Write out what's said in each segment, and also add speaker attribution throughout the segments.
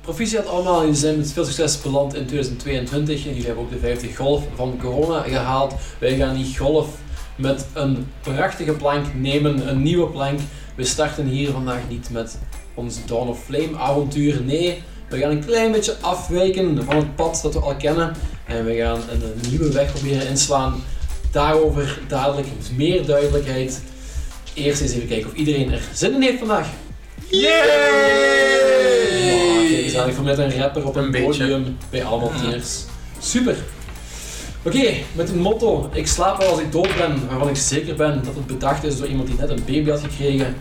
Speaker 1: Proficiat allemaal, jullie zijn met veel succes beland in 2022 en jullie hebben ook de 50 golf van corona gehaald. Wij gaan die golf met een prachtige plank nemen, een nieuwe plank. We starten hier vandaag niet met ons Dawn of Flame avontuur, nee. We gaan een klein beetje afwijken van het pad dat we al kennen en we gaan een een nieuwe weg proberen inslaan. Daarover dadelijk met meer duidelijkheid. Eerst eens even kijken of iedereen er zin in heeft vandaag. Oh, kijk eens aan, ik voel me net een rapper op een,
Speaker 2: Een beetje.
Speaker 1: podium bij allemaal tieners. Super. Oké, met het motto, ik slaap wel als ik dood ben, waarvan ik zeker ben dat het bedacht is door iemand die net een baby had gekregen,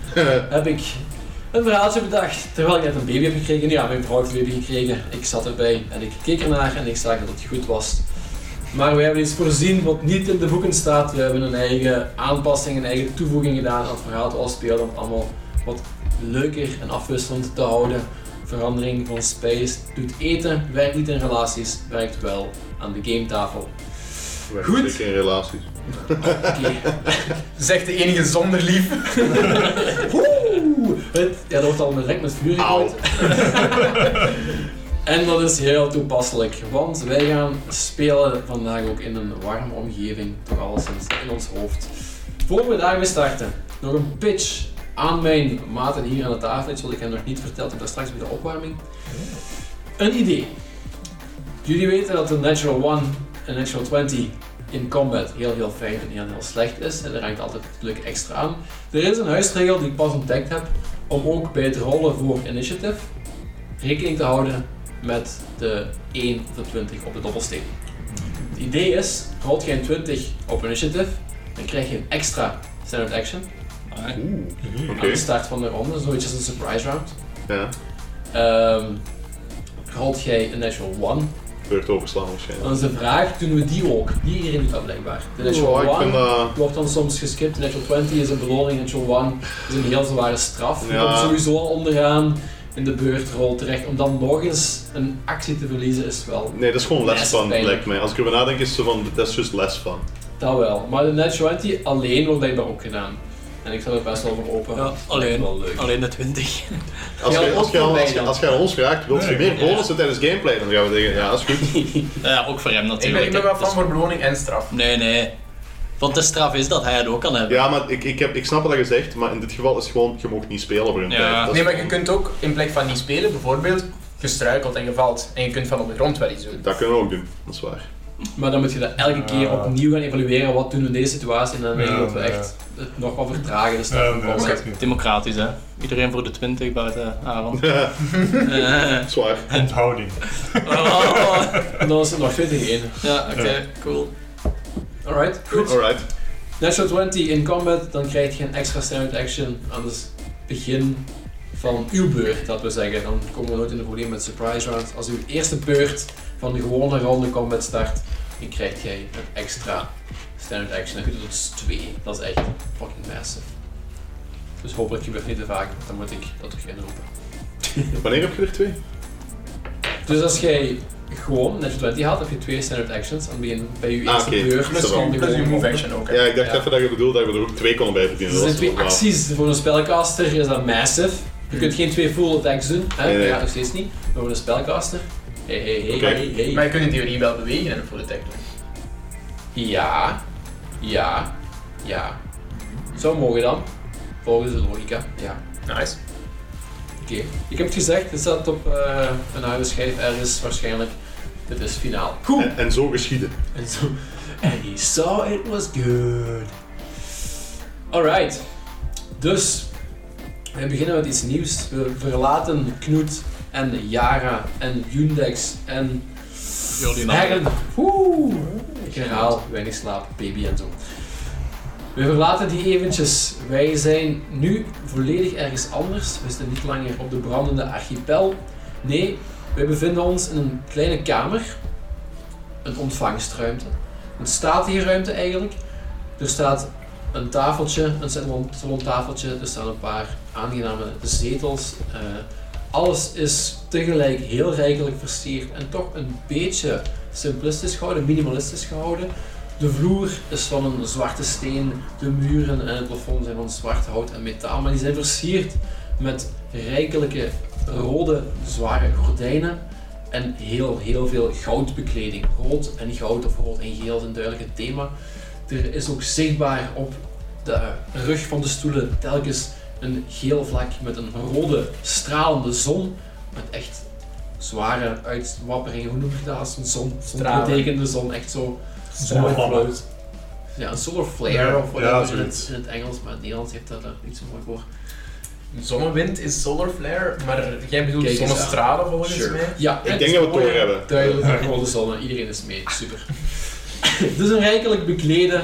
Speaker 1: heb ik een verhaaltje bedacht. Terwijl ik net een baby heb gekregen, ja, mijn vrouw heeft een baby gekregen, ik zat erbij en ik keek ernaar en ik zag dat het goed was. Maar we hebben iets voorzien wat niet in de boeken staat. We hebben een eigen aanpassing, een eigen toevoeging gedaan aan het verhaal dat we al spelen om het allemaal wat leuker en afwisselend te houden. Verandering van space doet eten, werkt niet in relaties, werkt wel aan de gametafel. Goed.
Speaker 3: Goed. in relaties.
Speaker 1: Oké,
Speaker 2: Zegt de enige zonder lief.
Speaker 1: Oeh, het- ja, dat wordt al direct met vuur gegooid. en dat is heel toepasselijk, want wij gaan spelen vandaag ook in een warme omgeving, toch alleszins in ons hoofd. Voor we daarmee starten, nog een pitch aan mijn maten hier aan de tafel. Iets wat ik hen nog niet verteld heb, dat straks bij de opwarming. Een idee. Jullie weten dat de Natural 1 en Natural 20 in combat heel heel fijn en heel heel slecht is. En dat raakt altijd het leuk extra aan. Er is een huisregel die ik pas ontdekt heb om ook bij het rollen voor initiative rekening te houden met de 1 of de 20 op de dobbelsteen. Het idee is, rolt je een 20 op initiative, dan krijg je een extra standard action
Speaker 3: Oeh. Oké.
Speaker 1: aan de start van de ronde, zoiets als een surprise round.
Speaker 3: Ja.
Speaker 1: Ehm rolt jij een natural 1,
Speaker 3: Beurt overslaan waarschijnlijk.
Speaker 1: dan is de vraag, doen we die ook? Die iedereen doet dat blijkbaar. De
Speaker 3: Oh,
Speaker 1: natural
Speaker 3: ik
Speaker 1: 1
Speaker 3: vind dat...
Speaker 1: wordt dan soms geskipt. De Natural 20 is een beloning, Natural 1 is een heel zware straf. Je
Speaker 3: Ja.
Speaker 1: komt sowieso al onderaan in de beurtrol terecht. Om dan nog eens een actie te verliezen is wel...
Speaker 3: Nee, dat is gewoon less
Speaker 1: Les
Speaker 3: fun,
Speaker 1: pijnlijk.
Speaker 3: lijkt mij. Als ik erover nadenk, is het zo van, dat is just less fun.
Speaker 1: Dat wel. Maar de Natural 20 alleen wordt blijkbaar ook gedaan. En ik sta er best wel voor open.
Speaker 4: Ja, alleen.
Speaker 1: Wel leuk.
Speaker 4: Alleen de 20.
Speaker 3: Als
Speaker 1: Ja,
Speaker 3: je, als
Speaker 1: ons
Speaker 3: je, aan-
Speaker 1: voorbij
Speaker 3: als je,
Speaker 1: dan.
Speaker 3: als je aan ons vraagt, wilt je meer bonussen tijdens gameplay? Dan gaan we zeggen, ja, dat is goed.
Speaker 4: Ja, ook voor hem
Speaker 2: Ik ben,
Speaker 4: natuurlijk.
Speaker 2: ik ben wel
Speaker 4: hè.
Speaker 2: van voor beloning en straf.
Speaker 4: Dus- Nee, nee. Want de straf is dat hij het ook kan hebben.
Speaker 3: Ja, maar ik, ik, heb, ik snap wat je zegt, maar in dit geval is het gewoon, je mag niet spelen voor een
Speaker 4: Ja.
Speaker 3: tijd. Dat is
Speaker 2: Nee, maar je
Speaker 3: gewoon-
Speaker 2: kunt ook in plek van niet spelen, bijvoorbeeld, gestruikeld en gevalt. En je kunt van op de grond wel iets doen.
Speaker 3: Dat kunnen we ook doen, dat is waar.
Speaker 1: Maar dan moet je dat elke keer
Speaker 5: Ja.
Speaker 1: opnieuw gaan evalueren. Wat doen we in deze situatie? En dan denk ik
Speaker 5: Ja,
Speaker 1: dat we
Speaker 5: ja.
Speaker 1: echt het nog wat vertragen. Dus dat
Speaker 5: Ja, nee,
Speaker 1: dat
Speaker 5: dat
Speaker 1: is
Speaker 5: is echt niet.
Speaker 4: Democratisch, hè. Iedereen voor de 20 buiten Oh. Aaron.
Speaker 3: Dat is waar.
Speaker 5: Onthouding.
Speaker 4: Oh.
Speaker 1: En dan is het nog 20 1
Speaker 4: Ja, oké, cool.
Speaker 1: Alright, goed.
Speaker 3: Alright.
Speaker 1: Natural 20 in combat, dan krijg je een extra standard action aan het begin van uw beurt, dat we zeggen. Dan komen we nooit in de probleem met surprise rounds. Als uw eerste beurt van de gewone ronde combat start, dan krijg jij een extra standard action. Dan doet het dus twee. Dat is echt fucking massive. Dus hopelijk gebeurt niet te vaak, want dan moet ik dat terug inroepen.
Speaker 3: Wanneer heb je er twee?
Speaker 1: Dus als jij gewoon Natural 20 haalt, heb je twee standard actions aan het begin bij je
Speaker 3: Ah,
Speaker 1: eerste
Speaker 3: oké.
Speaker 1: beurt.
Speaker 3: Dat
Speaker 2: Plus,
Speaker 3: is wel-
Speaker 1: van de
Speaker 2: je- plus je
Speaker 1: gewone
Speaker 2: move action ook. hè.
Speaker 3: Ja, ik dacht
Speaker 1: Ja.
Speaker 3: even dat je bedoelde dat we er ook twee konden bij verdienen.
Speaker 1: Er zijn
Speaker 3: Dat is
Speaker 1: twee
Speaker 3: wel- Mm.
Speaker 1: acties voor een spellcaster, is dat massive. Je kunt geen twee full attacks doen, hè?
Speaker 3: Nee, nee.
Speaker 1: dat gaat nog steeds niet. Maar voor een spellcaster, hey hey hey
Speaker 3: Oké.
Speaker 1: hey, hey.
Speaker 2: Maar je kunt in theorie wel bewegen en een full attack doen.
Speaker 1: Ja, ja, ja. Zo mogen dan, volgens de logica. Ja.
Speaker 2: Nice.
Speaker 1: Oké, ik heb het gezegd, het staat op eh, een oude schijf ergens waarschijnlijk. Dit is finaal. Goed!
Speaker 3: En, en zo geschieden.
Speaker 1: En zo. En he saw it was good. Alright. Dus. We beginnen met iets nieuws. We verlaten Knoet en Yara en Yundex en
Speaker 4: Jullie
Speaker 1: Herren. Oeh. Ik herhaal, weinig slaap, baby en zo. We verlaten die eventjes. Wij zijn nu volledig ergens anders. We zitten niet langer op de brandende archipel. Nee, wij bevinden ons in een kleine kamer. Een ontvangstruimte. Een statige ruimte eigenlijk. Er staat een tafeltje, een salon- salontafeltje. Er staan een paar aangename zetels. Eh, alles is tegelijk heel rijkelijk versierd en toch een beetje simplistisch gehouden, minimalistisch gehouden. De vloer is van een zwarte steen, de muren en het plafond zijn van zwart hout en metaal, maar die zijn versierd met rijkelijke rode zware gordijnen en heel, heel veel goudbekleding. Rood en goud of rood en geel is een duidelijk thema. Er is ook zichtbaar op de rug van de stoelen telkens een geel vlak met een rode stralende zon. Met echt zware uitwapperingen. Hoe noem je dat als een zon? Zon
Speaker 2: Stralen.
Speaker 1: betekent de zon echt zo.
Speaker 5: Stralen.
Speaker 1: float. Ja, een solar flare
Speaker 3: Ja,
Speaker 1: of whatever
Speaker 3: ja,
Speaker 1: in, het,
Speaker 3: zoiets.
Speaker 1: in het Engels, maar in het Nederlands heeft dat er niet zo mooi voor.
Speaker 2: Zonnewind is solar flare, maar jij bedoelt
Speaker 1: Kijk eens
Speaker 2: zonnestralen volgens
Speaker 1: Sure.
Speaker 2: mij.
Speaker 1: Ja,
Speaker 3: Ik denk dat we het door hebben.
Speaker 1: Duidelijk, ja. rode zonne, iedereen is mee, super. dus een rijkelijk beklede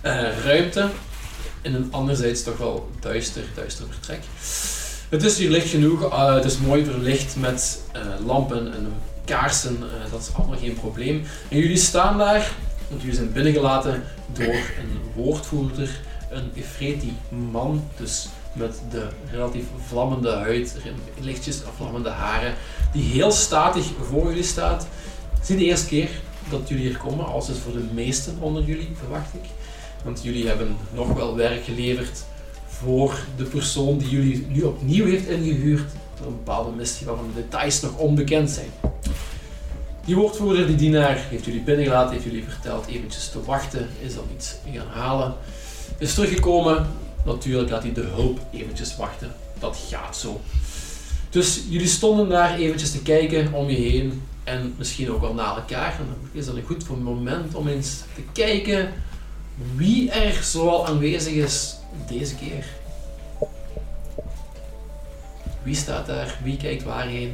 Speaker 1: eh, ruimte in een anderzijds toch wel duister, duister vertrek. Het is hier licht genoeg, eh, het is mooi verlicht met eh, lampen en kaarsen, eh, dat is allemaal geen probleem. En jullie staan daar, want jullie zijn binnengelaten door een woordvoerder, een Efreti man, dus met de relatief vlammende huid, lichtjes vlammende haren, die heel statig voor jullie staat. Het is niet de eerste keer dat jullie hier komen, als het voor de meesten onder jullie, verwacht ik. Want jullie hebben nog wel werk geleverd voor de persoon die jullie nu opnieuw heeft ingehuurd. Door een bepaalde missie waarvan de details nog onbekend zijn. Die woordvoerder, die dienaar, heeft jullie binnengelaten, heeft jullie verteld eventjes te wachten, is al iets gaan halen, is teruggekomen. Natuurlijk laat hij de hulp eventjes wachten. Dat gaat zo. Dus jullie stonden daar eventjes te kijken om je heen en misschien ook wel naar elkaar. En dan is dat een goed moment om eens te kijken wie er zoal aanwezig is deze keer. Wie staat daar? Wie kijkt waarheen?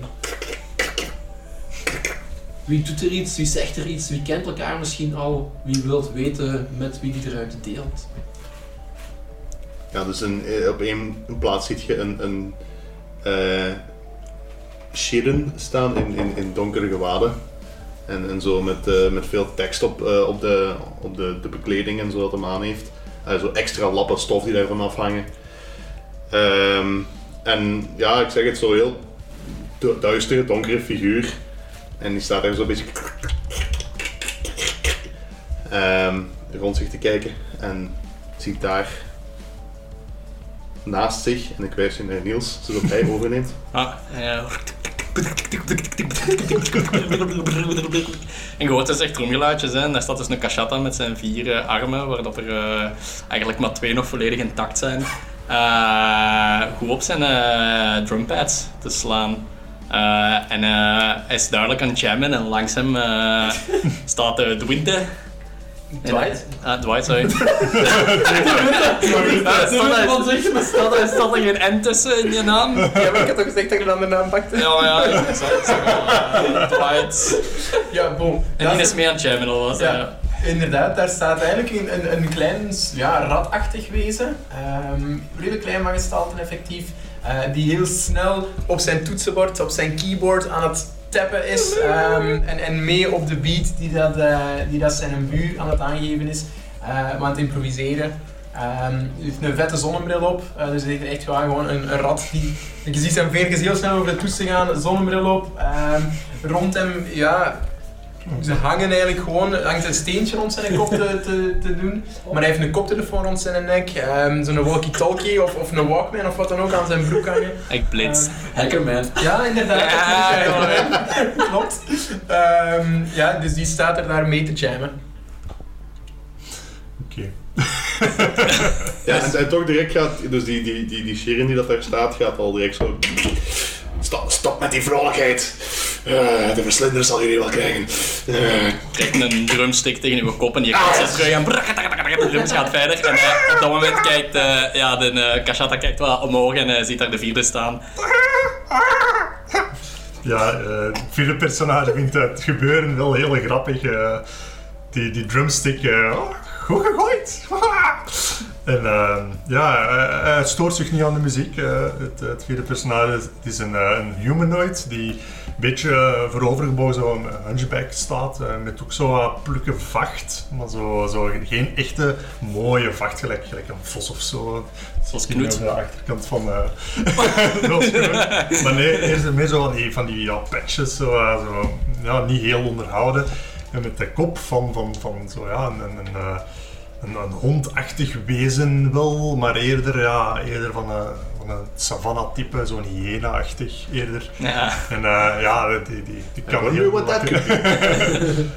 Speaker 1: Wie doet er iets? Wie zegt er iets? Wie kent elkaar misschien al? Wie wilt weten met wie die de ruimte deelt?
Speaker 3: Ja, dus een, eh, op één plaats ziet je een, een eh, Shirin staan in, in, in donkere gewaden. En, en zo met, eh, met veel tekst op, eh, op, de, op de, de bekleding en zo dat hem aan heeft. Eh, zo extra lappen stof die daarvan afhangen. Ehm, en ja, ik zeg het zo heel du- duistere, donkere figuur. En die staat daar zo een beetje ehm, rond zich te kijken. En ziet daar naast zich, en ik wijs je naar Niels, zodat hij overneemt.
Speaker 4: Ah, ja. En je hoort dus echt tromgeluidjes hè. en daar staat dus een cachata met zijn vier eh, armen, waar dat er eh, eigenlijk maar twee nog volledig intact zijn. Eh, goed op zijn eh, drumpads te slaan. Eh, en eh, hij is duidelijk aan het jammen en langs hem eh, staat de Dwinte.
Speaker 2: Dwight?
Speaker 4: Ah, Dwight, sorry. Eh, staat er- staat er- Staat er geen N tussen in je naam?
Speaker 2: Ja, maar ik had toch gezegd dat ik een andere naam pakte?
Speaker 4: Ja, maar ja, ik zag ik zag wel, eh, Dwight.
Speaker 2: Ja, boom.
Speaker 4: En die is mee aan het jammen al was.
Speaker 2: Ja.
Speaker 4: Ja.
Speaker 2: Inderdaad, daar staat eigenlijk een, een, een klein ja, ratachtig wezen. Ehm redelijk klein van gestalte effectief. eh, die heel snel op zijn toetsenbord, op zijn keyboard aan het tappen is. ehm, en, en mee op de beat die dat, eh, die dat zijn bu aan het aangeven is. eh, aan het improviseren. Ehm, hij heeft een vette zonnebril op. eh, dus hij is echt waar, gewoon een, een rat die... Je ziet zijn veertjes heel snel over de toetsen gaan, zonnebril op. ehm, rond hem, ja, ze hangen eigenlijk gewoon, er hangt een steentje rond zijn kop te, te, te doen. Maar hij heeft een koptelefoon rond zijn nek, ehm, zo'n walkie-talkie of, of een Walkman of wat dan ook aan zijn broek hangen.
Speaker 4: Ik blitz.
Speaker 1: Hackerman.
Speaker 2: Ja, inderdaad. dat
Speaker 4: Ja,
Speaker 2: is
Speaker 4: ja,
Speaker 2: hij wel, hè. Klopt. Ehm, ja, dus die staat er daar mee te jammen.
Speaker 5: Oké.
Speaker 3: Ja, en, en toch direct gaat, dus die, die, die, die Shirin die dat daar staat, gaat al direct zo... Stop, stop met die vrolijkheid! Eh, de verslinder zal jullie wel krijgen. Eh,
Speaker 4: Trekt een drumstick tegen uw kop en je gaat ze terug en de drums gaat verder. En eh, op dat moment kijkt eh, ja, de eh, Kashata kijkt wel omhoog en eh, ziet daar de vierde staan.
Speaker 5: Ja, eh het vierde personage vindt het gebeuren wel heel grappig. eh. die, die drumstick, eh, oh, goed gegooid! Haha. en eh, ja, eh, hij stoort zich niet aan de muziek. eh. het, het vierde personage het is een, eh, een humanoid die een beetje eh, voorovergebogen, zo een hunchback staat. eh, met ook zo wat plukke vacht, maar zo, zo geen echte mooie vacht, gelijk, gelijk een vos of zo.
Speaker 4: Zoals
Speaker 5: Die
Speaker 4: Knut.
Speaker 5: aan de achterkant van. eh, wel schoon. maar nee, eerst en meer zo van die, van die ja, patches, zo, eh, zo, ja, niet heel onderhouden. En met de kop van, van, van zo, ja, een, een, een, eh, een, een hondachtig wezen wel, maar eerder, ja, eerder van een, van een savanna-type, zo'n hyena-achtig eerder.
Speaker 4: Ja.
Speaker 5: En eh, ja, die, die, die kan
Speaker 3: wonder
Speaker 5: heel
Speaker 3: what that
Speaker 5: makkelijk-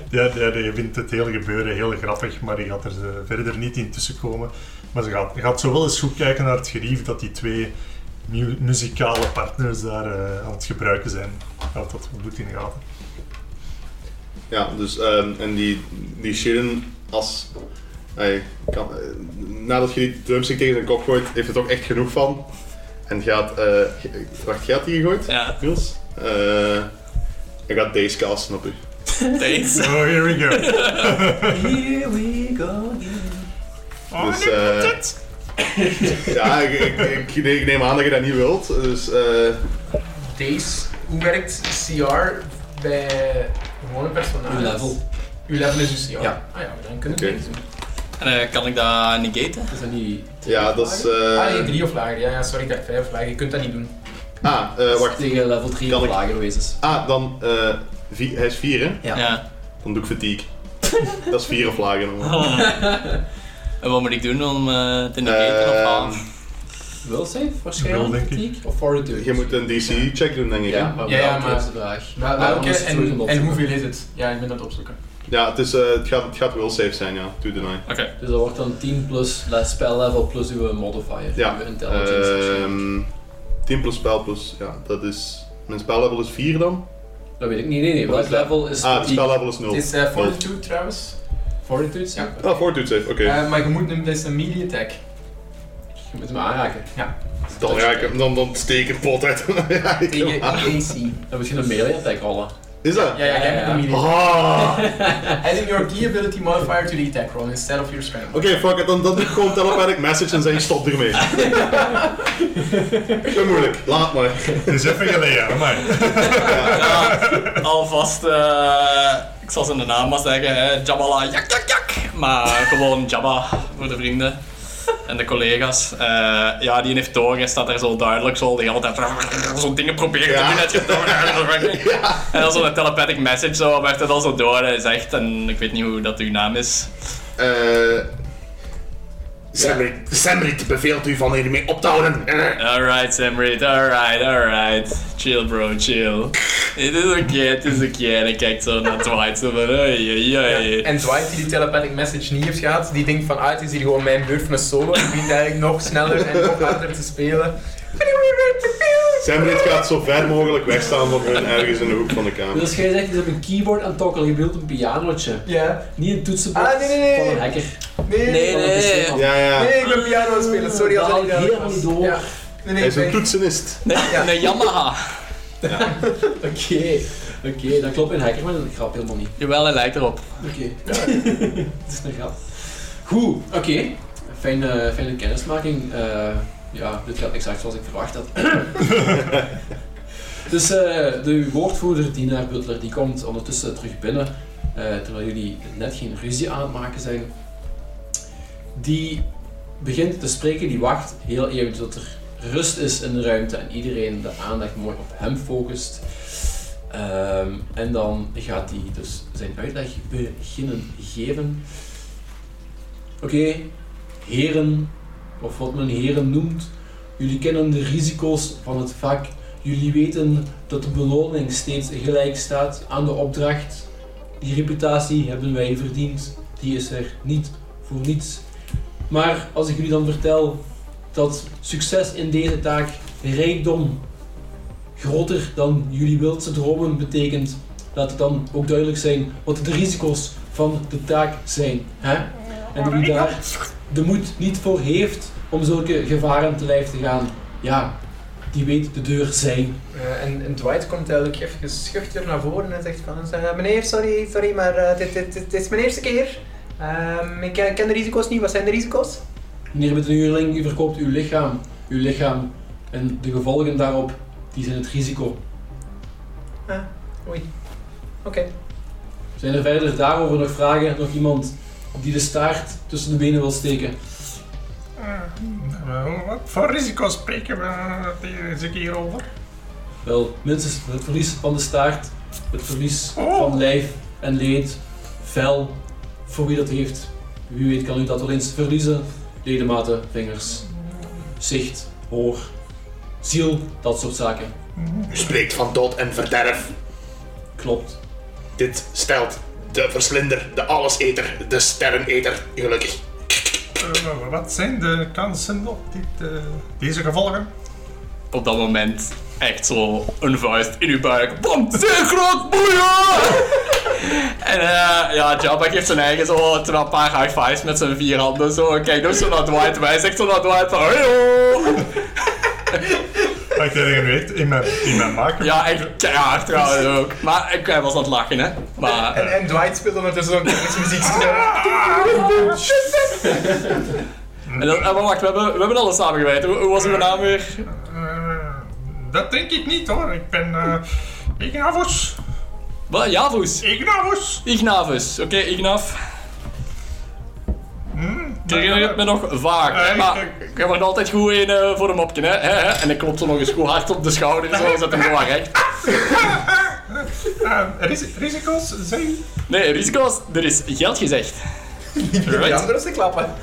Speaker 5: ja, ja, die vindt het hele gebeuren heel grappig, maar die gaat er eh, verder niet in tussenkomen. Maar ze gaat, gaat zo wel eens goed kijken naar het gerief dat die twee mu- muzikale partners daar eh, aan het gebruiken zijn. Houdt dat goed in de gaten.
Speaker 3: Ja, dus ehm, en die, die Sheeran als. Hij kan, eh, nadat je die drumstick tegen zijn kop gooit, heeft het ook echt genoeg van. En gaat. eh, ge- wacht, gaat die gegooid?
Speaker 4: Ja,
Speaker 3: Niels? Eh, hij gaat deze casten op u.
Speaker 4: deze.
Speaker 5: Oh, here we go.
Speaker 2: Here we go again. Oh,
Speaker 3: Dus, eh, ja, ik, ik, ik- nee, ik neem aan dat je dat niet wilt. Dus eh,
Speaker 2: Deze, hoe werkt CR bij gewone personages?
Speaker 1: Uw level.
Speaker 2: Uw level is uw CR?
Speaker 1: Ja.
Speaker 2: Ah ja, dan kunnen we
Speaker 3: Oké.
Speaker 2: deze doen.
Speaker 4: En eh, kan ik dat negaten?
Speaker 1: Is dat niet...
Speaker 3: ja, dat is. eh,
Speaker 2: ah nee, drie of lager. Ja, ja sorry, ik dacht vijf of lager. Je kunt dat niet doen.
Speaker 3: ah, eh, wacht.
Speaker 1: Tegen level 3
Speaker 3: Kan
Speaker 1: of
Speaker 3: ik-
Speaker 1: lager wezens.
Speaker 3: Ah, dan. eh, vi- hij is 4, hè?
Speaker 1: Ja.
Speaker 3: Dan doe ik fatigue. dat is 4 of lager. normaal.
Speaker 4: Oh. en wat moet ik doen om eh, te negaten of
Speaker 3: Ehm,
Speaker 4: aan?
Speaker 1: Will save waarschijnlijk?
Speaker 5: Will, denk ik.
Speaker 1: fatigue? Of fortitude?
Speaker 3: Je moet een DC-check doen, denk ik.
Speaker 1: Ja,
Speaker 3: hè?
Speaker 1: maar
Speaker 2: Ja, ja,
Speaker 1: welke
Speaker 2: maar-
Speaker 1: is de vraag?
Speaker 2: Maar
Speaker 1: Waarom
Speaker 2: welke
Speaker 1: is het terug
Speaker 2: Ah, en,
Speaker 1: in de
Speaker 2: en
Speaker 1: opzoek?
Speaker 2: hoeveel is het? Ja, ik ben dat opzoeken.
Speaker 3: Ja, het, is, eh, het, gaat, het gaat will save zijn, ja. To deny.
Speaker 4: Oké.
Speaker 1: Dus dat wordt dan 10 plus dat spellevel plus uw modifier.
Speaker 3: Ja.
Speaker 1: Uw intelligence. waarschijnlijk.
Speaker 3: Ehm 10 plus spel plus, ja, dat is... Mijn spellevel is 4 dan?
Speaker 1: dat weet ik niet. Nee, nee.
Speaker 3: wat
Speaker 1: Welk
Speaker 3: is dat?
Speaker 1: level is
Speaker 3: Ah, het
Speaker 1: fatigue?
Speaker 3: spellevel is 0.
Speaker 2: Het is eh,
Speaker 3: Nul.
Speaker 2: Fortitude trouwens.
Speaker 1: Fortitude?
Speaker 2: Ja.
Speaker 1: Ja.
Speaker 3: Ah, fortitude save, oké.
Speaker 2: Eh, maar je moet hem, dat is een melee attack.
Speaker 1: Je moet hem aanraken.
Speaker 2: Ja.
Speaker 3: dan raak ik hem, dan, dan steek ik pot uit. Ja, ik
Speaker 2: Tegen
Speaker 3: hem aan.
Speaker 2: AC.
Speaker 1: Dan moet je een melee attack rollen.
Speaker 3: is dat?
Speaker 2: E Ja, ja, jij hebt een melee attack.
Speaker 3: Ah.
Speaker 2: Adding your key ability modifier to the attack roll instead of your strength.
Speaker 3: Oké, fuck it, dan, dan doe ik gewoon telepathic message en zeg stop ermee. Te moeilijk, laat maar.
Speaker 5: Het is even geleden, hè, maar.
Speaker 4: Alvast, eh, ik zal zijn naam maar zeggen, hè. Jabbala, jak, jak, jak. Maar gewoon Jabba voor de vrienden en de collega's. Eh, ja, die heeft door, hij staat daar zo duidelijk zo, die altijd zo'n dingen proberen
Speaker 3: Ja.
Speaker 4: te doen. uit je- En dan zo'n telepathic message, zo, maar heeft het al zo door, hij zegt, en ik weet niet hoe dat uw naam is.
Speaker 3: Eh Samrit, Samrit beveelt u van hiermee op te houden. Eh.
Speaker 4: Alright, Sam Reed, alright, alright. Chill, bro, chill. Het is oké, het is oké. En hij kijkt zo naar Dwight, zo van, oei, oei, oei.
Speaker 2: En Dwight die die telepathic message niet heeft gehad, die denkt van ah, het is hier gewoon mijn beurt van een solo. Ik begin eigenlijk nog sneller en nog harder te spelen.
Speaker 3: Samrit gaat zo ver mogelijk wegstaan van hun ergens in de hoek van de kamer.
Speaker 1: Dus jij zegt, je hebt een keyboard aan het tokkelen. Je wilt een pianotje.
Speaker 2: Ja.
Speaker 1: Niet een toetsenbord
Speaker 2: Ah, nee, nee, nee.
Speaker 1: van een hacker.
Speaker 2: Nee,
Speaker 4: Nee, nee.
Speaker 3: Ja, ja.
Speaker 2: Nee, ik ben piano aan het spelen. Sorry als
Speaker 1: Dat
Speaker 2: ik
Speaker 1: haal ik
Speaker 2: duidelijk
Speaker 1: helemaal
Speaker 2: was.
Speaker 1: niet door.
Speaker 2: Ja. Nee, nee,
Speaker 3: Hij
Speaker 2: ik
Speaker 3: is een
Speaker 2: ben-
Speaker 3: toetsenist.
Speaker 4: Nee, een Yamaha.
Speaker 1: Oké, oké. Dat klopt in hacker, maar dat grap helemaal niet.
Speaker 4: Jawel, hij lijkt erop.
Speaker 1: Oké. Het is een grap. Goed, oké. Fijne, fijne kennismaking. Eh, ja, dit gaat exact zoals ik verwacht had. dus eh, de woordvoerder, Dina Butler, die komt ondertussen terug binnen. eh, terwijl jullie net geen ruzie aan het maken zijn. Die begint te spreken, die wacht heel even tot er rust is in de ruimte en iedereen de aandacht mooi op hem focust. Ehm, en dan gaat hij dus zijn uitleg beginnen geven. Oké, heren, of wat men heren noemt, jullie kennen de risico's van het vak. Jullie weten dat de beloning steeds gelijk staat aan de opdracht. Die reputatie hebben wij verdiend, die is er niet voor niets. Maar als ik jullie dan vertel dat succes in deze taak rijkdom groter dan jullie wildste dromen betekent, laat het dan ook duidelijk zijn wat de risico's van de taak zijn. Hè? En wie daar de moed niet voor heeft om zulke gevaren te lijf te gaan, ja, die weet de deur zijn.
Speaker 2: Eh, en, en Dwight komt eigenlijk even schuchter naar voren en zegt van, eh, meneer, sorry, sorry, maar eh, dit, dit, dit is mijn eerste keer. Ehm, ik ken, ken de risico's niet, wat zijn de risico's?
Speaker 1: Meneer Bittenuurling, u verkoopt uw lichaam. Uw lichaam en de gevolgen daarop, die zijn het risico.
Speaker 2: Ah, oei. Oké.
Speaker 1: Zijn er verder daarover nog vragen? Nog iemand die de staart tussen de benen wil steken?
Speaker 5: Eh, Wat voor risico's spreken we eh, deze keer over?
Speaker 1: Wel, minstens het verlies van de staart, het verlies
Speaker 5: Oh.
Speaker 1: van lijf en leed, vel, voor wie dat heeft, Wie weet kan u dat wel eens verliezen. Ledematen, vingers, zicht, hoor, ziel, dat soort zaken.
Speaker 3: U spreekt van dood en verderf.
Speaker 1: Klopt.
Speaker 3: Dit stelt de verslinder, de alleseter, de sterreneter gelukkig.
Speaker 5: Eh, wat zijn de kansen op dit, eh, deze gevolgen?
Speaker 4: Op dat moment echt zo een vuist in uw buik. Bam, zeer groot, boeien! En eh, ja, Jabba geeft zijn eigen zo terwijl een paar high fives met zijn vier handen zo. Kijk, dus zo naar Dwight, wij zegt zo naar Dwight van "Hey, ho!"
Speaker 5: Ah, Ik heb weet in mijn, in mijn maken.
Speaker 4: Ja, echt keihard trouwens ook. Maar ik hij was aan het lachen, hè. Maar
Speaker 2: En, en Dwight speelde ondertussen ook iets muziek.
Speaker 5: Eh,
Speaker 4: En dan, eh, maar wacht, we hebben, we hebben alles samengewerkt. Hoe, hoe was uw naam weer?
Speaker 5: Eh, dat denk ik niet hoor. Ik ben. eh, Ignavus.
Speaker 4: Wat? Javus.
Speaker 5: Ignavus.
Speaker 4: Ignavus. Oké, Ignav.
Speaker 5: Hm?
Speaker 4: Ik herinner het me nog vaak. hè,
Speaker 5: Eh,
Speaker 4: maar
Speaker 5: ik- ik-
Speaker 4: ik heb er altijd goed in eh, voor een mopje, hè. hè, hè. En ik klop zo nog eens goed hard op de schouder, zo, zet hem gewoon recht.
Speaker 5: Eh, ris- risico's zijn.
Speaker 4: Nee, risico's, er is geld gezegd.
Speaker 2: Je
Speaker 4: Right?
Speaker 2: hebt te klappen.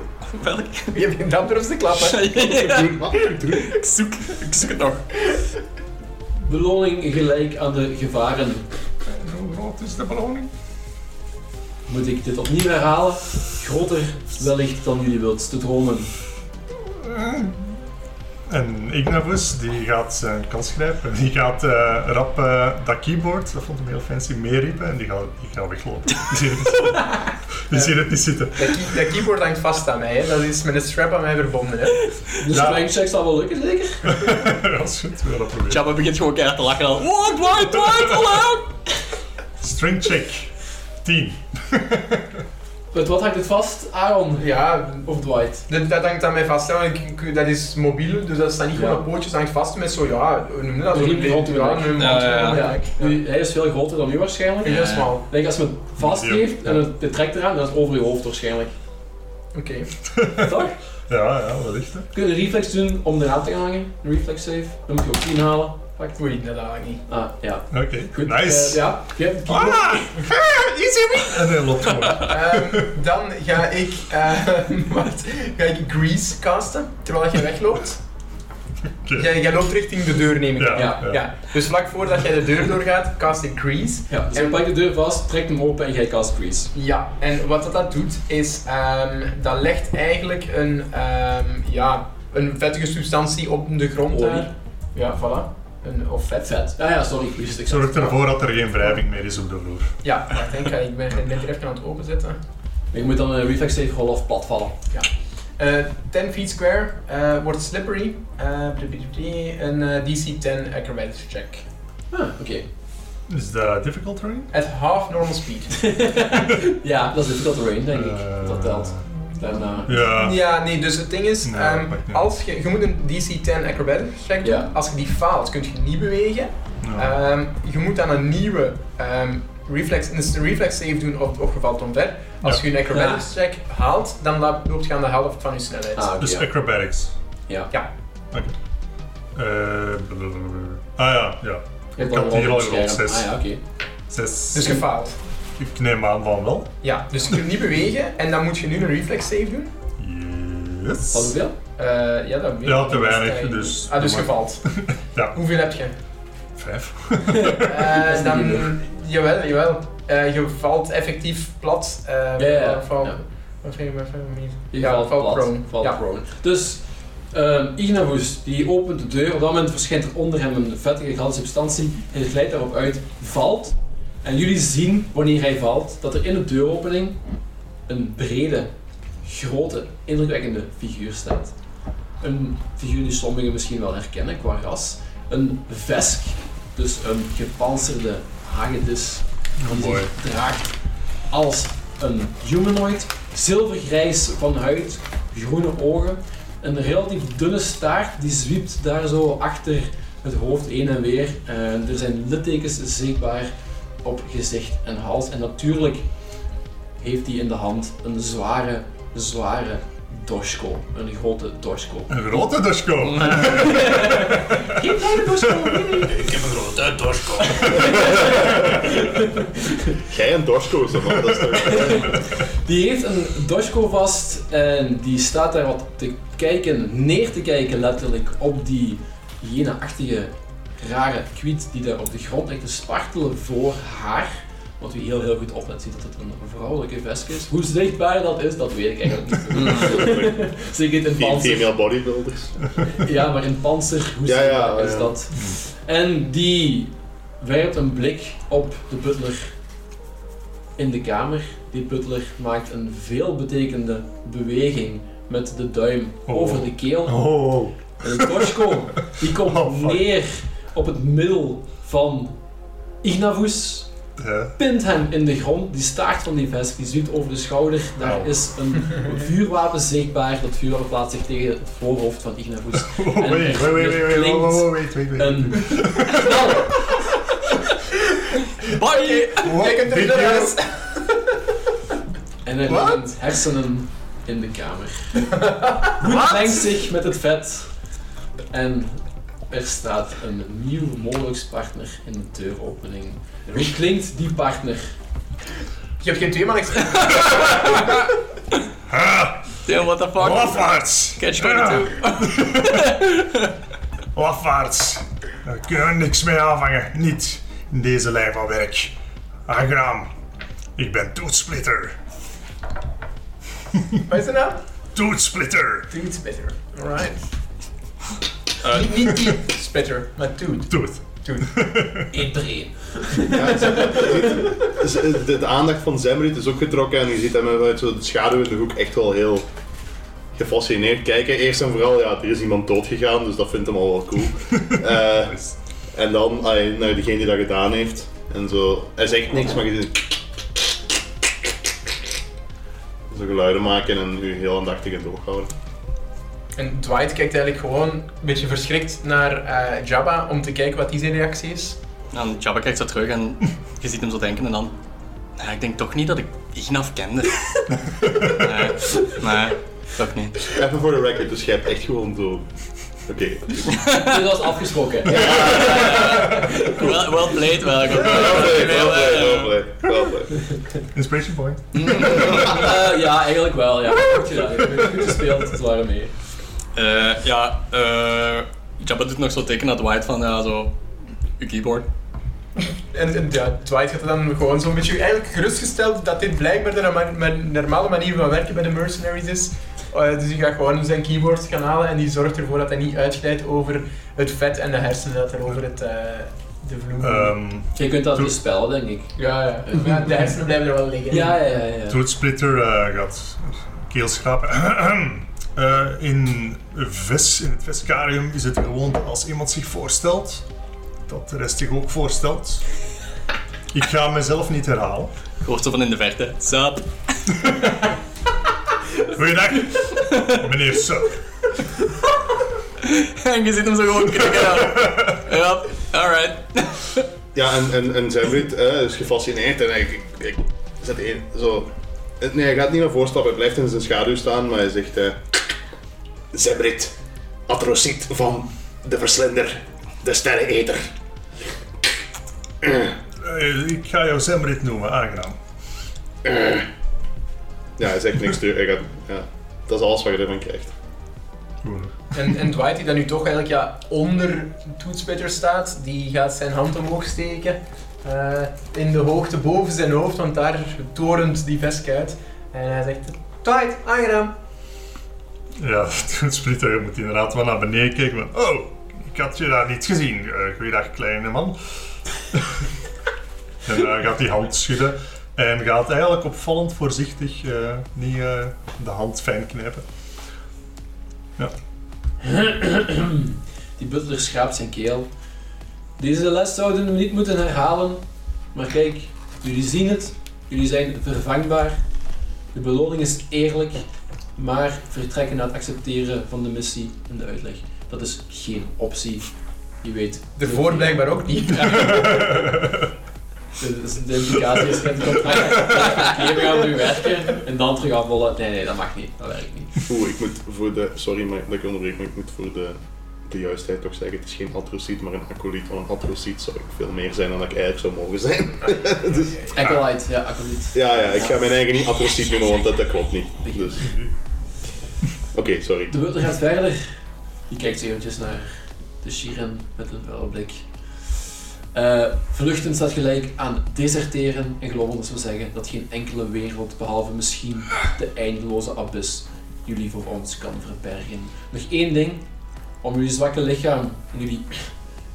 Speaker 4: Welk?
Speaker 2: Je hebt geen dam te klappen.
Speaker 3: Wat? Doe-
Speaker 4: ik, zoek, ik zoek het nog.
Speaker 1: Beloning gelijk aan de gevaren.
Speaker 5: En Hoe groot is de beloning?
Speaker 1: Moet ik dit opnieuw herhalen? Groter wellicht dan jullie wilt te dromen.
Speaker 5: En Ignavus die gaat zijn kans grijpen. Die gaat eh, rap eh, dat keyboard, dat vond hem heel fancy, meeriepen en die gaat, die gaat weglopen. Die ziet het, die ziet het niet zitten.
Speaker 2: Dat, key- dat keyboard hangt vast aan mij, hè. dat is met een strap aan mij verbonden. Hè.
Speaker 1: Dus
Speaker 5: Ja.
Speaker 1: mijn check zal wel lukken, zeker?
Speaker 5: Dat is goed, we gaan dat proberen.
Speaker 4: Jabba begint gewoon keihard te lachen dan. What, what, what, what?
Speaker 5: String check. 10.
Speaker 1: Met wat hangt het vast? Aaron
Speaker 2: Ja,
Speaker 1: of Dwight?
Speaker 2: dat, dat hangt aan mij vast, hè, want ik, ik- dat is mobiel, dus dat staat niet gewoon
Speaker 1: Ja.
Speaker 2: op pootjes, dat hangt vast met zo, ja, hoe noem je dat?
Speaker 1: Een
Speaker 2: Zo'n
Speaker 1: riem rond uw nek.
Speaker 2: ja, een
Speaker 4: Ja, ja, ja.
Speaker 2: rond uw nek.
Speaker 1: Nu, hij is veel groter dan u waarschijnlijk.
Speaker 2: Ja,
Speaker 1: Ik
Speaker 2: Heel smal.
Speaker 1: denk als men het vastgeeft en het het trekt eraan, dan is het over je hoofd waarschijnlijk.
Speaker 2: Oké.
Speaker 1: Toch?
Speaker 5: Ja, ja, wellicht. Hè.
Speaker 1: Kun je een reflex doen om eraan te gaan hangen? Een reflex save. Dan moet je ook 10 halen. Pakt.
Speaker 2: Oei, dat haal ik niet.
Speaker 1: Ah, ja.
Speaker 5: Oké,
Speaker 1: Goed. Eh,
Speaker 5: nice.
Speaker 1: ja, je hebt
Speaker 5: Ah, ah, easy me! En hij loopt gewoon.
Speaker 2: Ehm, dan ga ik, ehm, wacht, ga ik Grease casten, terwijl jij wegloopt.
Speaker 5: Oké.
Speaker 2: Jij, jij loopt richting de deur, neem ik aan.
Speaker 1: Ja,
Speaker 5: ja.
Speaker 2: Ja, dus vlak voordat jij de deur doorgaat, cast ik Grease.
Speaker 1: Ja, dus je pakt de deur vast, trekt hem open en jij cast Grease.
Speaker 2: Ja, en wat dat, dat doet is, ehm, dat legt eigenlijk een, ehm, ja, een vettige substantie op de grond
Speaker 1: Olie.
Speaker 2: daar. Ja, voilà. Een, of vet.
Speaker 1: Vet. Ah, Ja, ja, sorry, Grease. Ik zat-
Speaker 5: Zorg ervoor dat er geen wrijving meer is op de vloer.
Speaker 2: Ja, wacht, denk, ik ben, ik ben hier even aan het openzetten.
Speaker 1: Maar je moet dan een reflex save rollen of platvallen.
Speaker 2: Eh 10 feet square eh, wordt slippery. Eh, bli- bli- bli- een eh, DC 10 acrobatics check.
Speaker 1: Ah, oké.
Speaker 5: Is dat difficult terrain?
Speaker 2: At half normal speed.
Speaker 1: ja, dat is difficult terrain, denk ik.
Speaker 5: Eh,
Speaker 1: Dat telt. eh, ah, Daarna.
Speaker 5: Ja. Nou,
Speaker 2: Ja, nee, dus het ding is,
Speaker 5: Nee,
Speaker 2: ehm,
Speaker 5: dat maakt niet
Speaker 2: als je, je moet een DC 10 acrobatics check doen.
Speaker 1: Ja.
Speaker 2: Als je die faalt, kun je niet bewegen.
Speaker 5: ja.
Speaker 2: Ehm, je moet dan een nieuwe ehm, reflex, dus een reflex save doen of, of je valt omver. Als
Speaker 5: Ja.
Speaker 2: je een acrobatics check haalt, dan la- loopt je aan de helft van je snelheid.
Speaker 1: Ah, oké.
Speaker 5: Dus
Speaker 1: ja.
Speaker 5: acrobatics.
Speaker 1: ja.
Speaker 2: Ja,
Speaker 5: Oké. Eh, blablabla. ah ja, ja.
Speaker 1: Je hebt
Speaker 5: Ik had
Speaker 1: een
Speaker 5: hier
Speaker 1: rol op
Speaker 5: al gerold,
Speaker 1: het scherm.
Speaker 5: zes.
Speaker 1: Ah ja, oké.
Speaker 5: Zes.
Speaker 2: dus je faalt.
Speaker 5: Ik neem aan van wel.
Speaker 2: Ja, dus je kunt niet bewegen en dan moet je nu een reflex save doen.
Speaker 5: Yes.
Speaker 1: Wat hoeveel?
Speaker 2: Eh, ja, dat weet
Speaker 5: Ja,
Speaker 2: ik
Speaker 5: te
Speaker 2: niet.
Speaker 5: weinig,
Speaker 2: Eh,
Speaker 5: dus-
Speaker 2: Ah, dus
Speaker 5: doe
Speaker 2: je
Speaker 5: maar.
Speaker 2: valt.
Speaker 5: Ja.
Speaker 2: Hoeveel heb je?
Speaker 5: Vijf.
Speaker 2: Eh,
Speaker 1: Dat is
Speaker 2: dan,
Speaker 1: niet genoeg.
Speaker 2: jawel, jawel. Eh, je valt effectief plat. eh,
Speaker 1: Ja, ja.
Speaker 2: Val,
Speaker 1: ja.
Speaker 2: Wat ging je met veel meer?
Speaker 1: Je
Speaker 2: Ja,
Speaker 1: valt
Speaker 2: valt
Speaker 1: plat,
Speaker 2: prone.
Speaker 1: Valt
Speaker 2: Ja.
Speaker 1: prone. Dus ehm Ignavus, die opent de deur. Op dat moment verschijnt er onder hem een vettige gladde substantie. Hij glijdt daarop uit, valt. En jullie zien, wanneer hij valt, dat er in de deuropening een brede, grote, indrukwekkende figuur staat. Een figuur die sommigen misschien wel herkennen qua ras. Een vesk, dus een gepantserde hagedis die
Speaker 5: mooi.
Speaker 1: zich draagt als een humanoid. Zilvergrijs van huid, groene ogen. Een relatief dunne staart die zwiept daar zo achter het hoofd heen en weer. En er zijn littekens zichtbaar op gezicht en hals. En natuurlijk heeft hij in de hand een zware, zware Doshko. Een grote Doshko.
Speaker 5: Een grote Doshko.
Speaker 1: Geen kleine Doshko, nee, nee.
Speaker 2: Ik heb een grote dorsko.
Speaker 3: Jij en Dorsko is dat, man. Dat is toch...
Speaker 1: Die heeft een Doshko vast en die staat daar wat te kijken, neer te kijken letterlijk op die hyena-achtige rare kwiet die daar op de grond ligt te spartelen voor haar. Wat u heel heel goed oplet ziet dat het een vrouwelijke vest is. Hoe zichtbaar dat is, dat weet ik eigenlijk niet. Zeker niet in
Speaker 3: Die
Speaker 1: panzer.
Speaker 3: female bodybuilders.
Speaker 1: Ja, maar in panzer, hoe
Speaker 3: Ja, ja,
Speaker 1: zichtbaar is
Speaker 3: ja.
Speaker 1: dat? En die werpt een blik op de butler in de kamer. Die butler maakt een veelbetekende beweging met de duim
Speaker 5: Oh.
Speaker 1: over de keel.
Speaker 5: Oh,
Speaker 1: En de Dorsko, die komt
Speaker 5: Oh, fuck.
Speaker 1: neer op het middel van Ignavus
Speaker 5: ja.
Speaker 1: pint hem in de grond, die staart van die vest, die zuurt over de schouder. Daar
Speaker 5: Au.
Speaker 1: is een vuurwapen zichtbaar. Dat vuurwapen plaatst zich tegen het voorhoofd van Ignavus.
Speaker 5: Oh, wait, wait, wait, wait, wait, wait, wait, wait, wait, wait, wait.
Speaker 1: Een knal.
Speaker 4: Bye!
Speaker 5: What
Speaker 2: Kijk, het
Speaker 5: did
Speaker 2: is
Speaker 5: you-
Speaker 2: eruit.
Speaker 1: En er
Speaker 5: Wat?
Speaker 1: liggen hersenen in de kamer. Goed mengt zich met het vet. En er staat een nieuw mogelijkspartner in de deuropening. Hoe klinkt die partner?
Speaker 2: Je hebt geen twee man extra.
Speaker 5: Ah,
Speaker 4: Damn, what the fuck?
Speaker 5: lafaards.
Speaker 4: Catch
Speaker 5: Ah,
Speaker 4: 22.
Speaker 5: Lafaards. Daar kunnen we niks mee aanvangen. Niet in deze lijn van werk. Aangenaam. Ik ben Toetsplitter.
Speaker 2: Wat is nou? de naam?
Speaker 5: Toetsplitter.
Speaker 2: Toot Spitter. Alright.
Speaker 5: Eh.
Speaker 2: Niet, niet Toot Spitter, maar Toot.
Speaker 5: Toet.
Speaker 2: Toot.
Speaker 1: Eet er één.
Speaker 3: Ja, dus, eh, de, de aandacht van Zemrit is ook getrokken en je ziet hem uit zo de schaduw in de hoek echt wel heel gefascineerd kijken. Eerst en vooral, ja, er is iemand doodgegaan, dus dat vindt hem al wel cool. Eh, en dan ai, naar degene die dat gedaan heeft. En zo, hij zegt niks, maar je ziet zo geluiden maken en u heel aandachtig in doorhouden.
Speaker 2: En Dwight kijkt eigenlijk gewoon een beetje verschrikt naar eh, Jabba om te kijken wat die zijn reactie is.
Speaker 4: Dan Jabba kijkt zo terug en je ziet hem zo denken en dan... Nee, ik denk toch niet dat ik Ignaf kende. nee, nee, toch niet.
Speaker 3: Even voor de record, dus jij hebt echt gewoon zo... Oké,
Speaker 1: Dit was afgesproken.
Speaker 4: Wel, wel played, wel. goed.
Speaker 3: Wel blij, wel blij, wel blij, wel blij.
Speaker 5: Inspiration point.
Speaker 1: Eh, ja, eigenlijk wel. Ja. Goed gedaan. Je hebt goed gespeeld, het waren mee.
Speaker 4: Eh, ja, eh... Jabba doet nog zo teken naar Dwight van, ja, zo... Uw keyboard.
Speaker 2: En, en ja, Dwight gaat dan gewoon zo'n beetje eigenlijk gerustgesteld dat dit blijkbaar de norma- mijn- normale manier van werken bij de mercenaries is. Eh, dus die gaat gewoon zijn keyboard gaan halen en die zorgt ervoor dat hij niet uitglijdt over het vet en de hersenen dat er over het, eh, de vloer.
Speaker 5: Ehm
Speaker 1: Je kunt dat niet spellen, denk ik.
Speaker 2: ja, ja. ja, de hersenen blijven er wel liggen.
Speaker 1: Ja, ja, ja. ja.
Speaker 5: Toetsplitter eh, gaat keel schrapen. Eh, in, vis, in het viscarium is het gewoon als iemand zich voorstelt, dat de rest zich ook voorstelt. Ik ga mezelf niet herhalen.
Speaker 4: Je hoort zo van in de verte. Zap.
Speaker 5: Goeiedag, meneer Sir.
Speaker 4: En je ziet hem zo gewoon knikken. ja. Ja, alright.
Speaker 3: Ja, en, en, en zijn vriend eh, is gefascineerd en hij ik, ik, zet één zo. Nee, hij gaat niet naar voorstappen, hij blijft in zijn schaduw staan, maar hij zegt. eh Zemrit, atrociet van de verslinder, de sterreneter.
Speaker 5: Eh, ik ga jou Zemrit noemen, aangenaam.
Speaker 3: Ja, hij zegt niks terug. Hij gaat, ja, dat is alles wat je ervan krijgt.
Speaker 5: Goed.
Speaker 2: En, en Dwight, die dan nu toch eigenlijk ja, onder Toetspetter staat, die gaat zijn hand omhoog steken. eh, in de hoogte boven zijn hoofd, want daar torent die vesk uit. En hij zegt, Dwight, aangenaam.
Speaker 5: Ja, Toetsplitter je moet inderdaad wel naar beneden kijken. maar, oh, ik had je daar niet gezien. Eh, goeiedag, kleine man. en eh, gaat die hand schudden. En gaat eigenlijk opvallend voorzichtig eh, niet eh, de hand fijn knijpen.
Speaker 1: Die butler schraapt zijn keel. Deze les zouden we niet moeten herhalen. Maar kijk, jullie zien het. Jullie zijn vervangbaar. De beloning is eerlijk. Maar vertrekken naar het accepteren van de missie en de uitleg. Dat is geen optie. Je weet.
Speaker 2: Daarvoor blijkbaar ook niet.
Speaker 1: De, de- de implicatie is geen contract. Even gaan we nu werken en dan terug afrollen. Nee, nee, dat mag niet. Dat werkt niet.
Speaker 3: Oeh, ik moet voor de. Sorry maar, dat ik onderbreek, maar ik moet voor de, de juistheid toch zeggen: het is geen atrociet, maar een acolyte. Want een atrociet zou ik veel meer zijn dan dat ik eigenlijk zou mogen zijn. dus,
Speaker 1: Acolyte, ja, acolyte.
Speaker 3: ja, ja, ik ga mijn eigen niet atrociet noemen, want dat, dat klopt niet. Dus. Oké, sorry.
Speaker 1: De butler gaat verder. Die kijkt eventjes naar de Shiren met een vuile blik. Eh, vluchten staat gelijk aan deserteren en geloven dat zou zeggen dat geen enkele wereld, behalve misschien de eindeloze abyss, jullie voor ons kan verbergen. Nog één ding, om jullie zwakke lichaam en jullie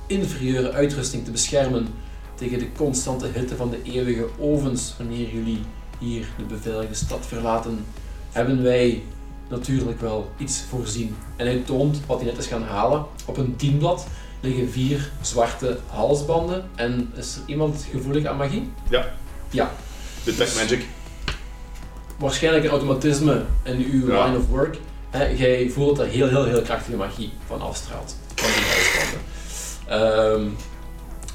Speaker 1: inferieure uitrusting te beschermen tegen de constante hitte van de eeuwige ovens wanneer jullie hier de beveiligde stad verlaten, hebben wij natuurlijk wel iets voorzien. En hij toont wat hij net is gaan halen. Op een dienblad liggen vier zwarte halsbanden. En is er iemand gevoelig aan magie?
Speaker 3: Ja.
Speaker 1: Ja.
Speaker 3: Detect Magic.
Speaker 1: Waarschijnlijk een automatisme in uw
Speaker 3: Ja.
Speaker 1: line of work. Hè, jij voelt dat er heel, heel, heel krachtige magie van afstraalt. Van die halsbanden. Ehm,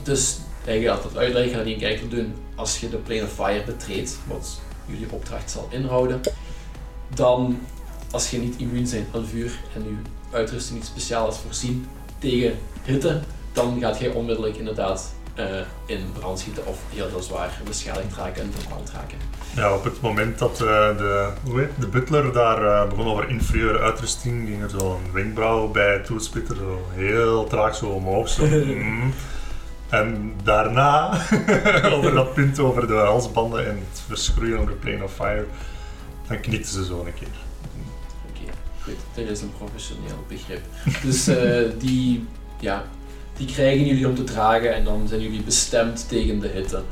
Speaker 1: dus hij gaat dat uitleggen en je kijkt wat doen. Als je de Plane of Fire betreedt, wat jullie opdracht zal inhouden, dan als je niet immuun bent aan vuur en je uitrusting niet speciaal is voorzien tegen hitte, dan gaat jij onmiddellijk inderdaad eh, in brand schieten of heel, heel zwaar beschadigd raken en verbrand raken.
Speaker 5: Ja, op het moment dat eh, de, hoe heet, het, de butler daar eh, begon over inferieure uitrusting, ging er zo'n wenkbrauw bij toesplitter zo heel traag zo omhoog. Zo, mm. En daarna, over dat punt over de halsbanden en het verschroeien over Plane of Fire, dan knikte ze zo een keer.
Speaker 1: Oké, goed. Er is een professioneel begrip. Dus eh, die, ja, die krijgen jullie om te dragen en dan zijn jullie bestemd tegen de hitte.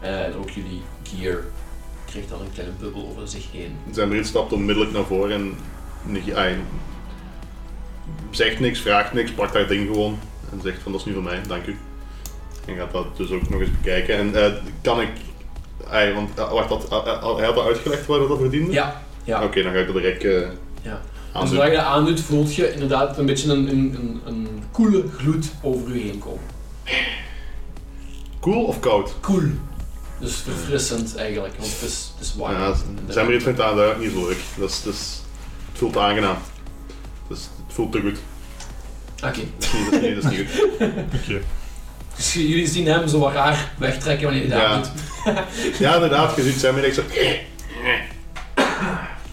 Speaker 1: Eh, en ook jullie gear krijgt dan een kleine bubbel over zich heen.
Speaker 3: Zijn vriend stapt onmiddellijk naar voren en. neg- ah, zegt niks, vraagt niks, pakt haar ding gewoon. En zegt: van dat is nu van mij, dank u. En gaat dat dus ook nog eens bekijken. En eh, kan ik. ah, want eh, wacht, dat, ah, ah, hij had al uitgelegd waar dat dat verdiende?
Speaker 1: Ja, ja.
Speaker 3: Oké, dan ga ik dat direct eh
Speaker 1: Ja. En
Speaker 3: aan
Speaker 1: zodra je dat aandoet, voelt je inderdaad een beetje een, een, een, een koele gloed over je heen komen.
Speaker 3: Cool of koud?
Speaker 1: Koel. Dus verfrissend eigenlijk, want het is, het is warm.
Speaker 3: Ja, zijn we dit vindt dat dat niet zo leuk. Dat is, dat is- het voelt aangenaam. Dus het voelt te goed.
Speaker 1: Oké.
Speaker 3: Nee, dat is niet goed.
Speaker 5: Oké.
Speaker 1: Dus jullie zien hem zo wat raar wegtrekken wanneer hij dat
Speaker 3: Ja.
Speaker 1: doet.
Speaker 3: Ja, inderdaad, je ziet Sammy direct zo.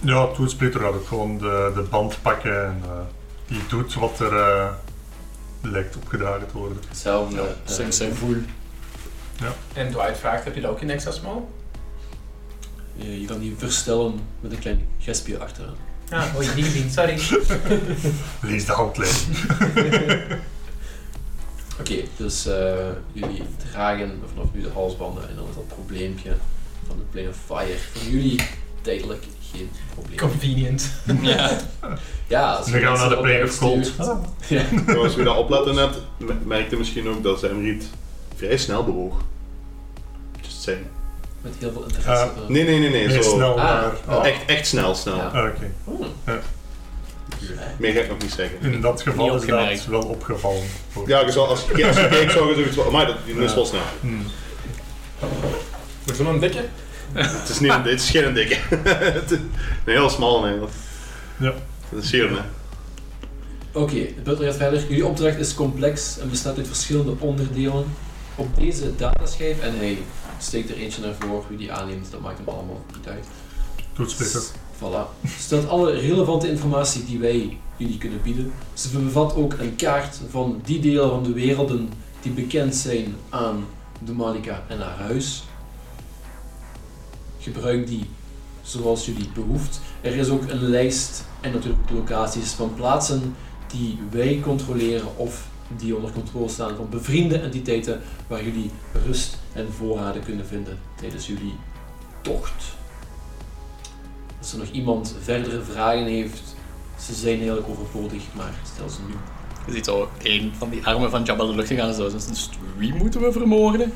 Speaker 5: Ja, toesplitter gaat ook gewoon de, de band pakken en eh, die doet wat er eh, lijkt opgedragen te worden.
Speaker 1: Hetzelfde
Speaker 4: Ja,
Speaker 1: eh,
Speaker 4: same, same.
Speaker 1: gevoel.
Speaker 2: En Dwight vraagt, heb je dat ook in extra small?
Speaker 1: Je, je kan die verstellen met een klein gespje achteraan.
Speaker 2: Ja, oh, niet gezien, sorry.
Speaker 5: Lees de handleiding.
Speaker 1: Oké, dus eh, jullie dragen vanaf nu de halsbanden en dan is dat probleempje van de Plane of Fire voor jullie tijdelijk geen probleem.
Speaker 2: Convenient.
Speaker 4: Ja.
Speaker 1: Ja, als
Speaker 5: Nu gaan we naar de Plane of Ah, Cold.
Speaker 1: mensen dat uitstuurt. Ja.
Speaker 3: Als we dat opletten net, me- merkte misschien ook dat Sammy het vrij snel bewoog. Just saying.
Speaker 1: Met heel veel interesse.
Speaker 5: Eh,
Speaker 3: Nee, nee, nee, nee.
Speaker 5: Nee,
Speaker 3: zo. oh.
Speaker 5: snel
Speaker 1: Ah,
Speaker 5: naar.
Speaker 1: ah.
Speaker 5: Ah,
Speaker 3: Echt, echt snel, snel.
Speaker 1: Ja.
Speaker 5: Oké.
Speaker 1: Oh.
Speaker 5: Ja.
Speaker 3: Meer ga ik nog niet zeggen.
Speaker 5: In dat
Speaker 4: Niet
Speaker 5: geval is dat
Speaker 4: opgemerkt.
Speaker 5: wel opgevallen. Voor-
Speaker 3: Ja, je zou- als je als je kijkt, zou je zoiets van. Maar dat die is wel snel.
Speaker 5: Hmm.
Speaker 2: Voor zo'n dikke?
Speaker 3: Het is, niet een, het is geen een dikke. Het is een heel smal, nee. Dat
Speaker 5: Ja.
Speaker 3: dat is hier, hè.
Speaker 1: Oké, de butler gaat verder. Jullie opdracht is complex en bestaat uit verschillende onderdelen. Op deze dataschijf, en hij steekt er eentje naar voren, wie die aanneemt, dat maakt hem allemaal niet uit.
Speaker 5: Toetsplitter.
Speaker 1: Voilà. Stelt alle relevante informatie die wij jullie kunnen bieden. Ze bevat ook een kaart van die delen van de werelden die bekend zijn aan de Malika en haar huis. Gebruik die zoals jullie behoeft. Er is ook een lijst en natuurlijk locaties van plaatsen die wij controleren of die onder controle staan van bevriende entiteiten waar jullie rust en voorraden kunnen vinden tijdens jullie tocht. Als er nog iemand verdere vragen heeft, ze zijn heel overbodig, maar stel ze nu.
Speaker 4: Je ziet zo één van die armen van Jabba de lucht gaan en zo. Dus wie moeten we vermoorden?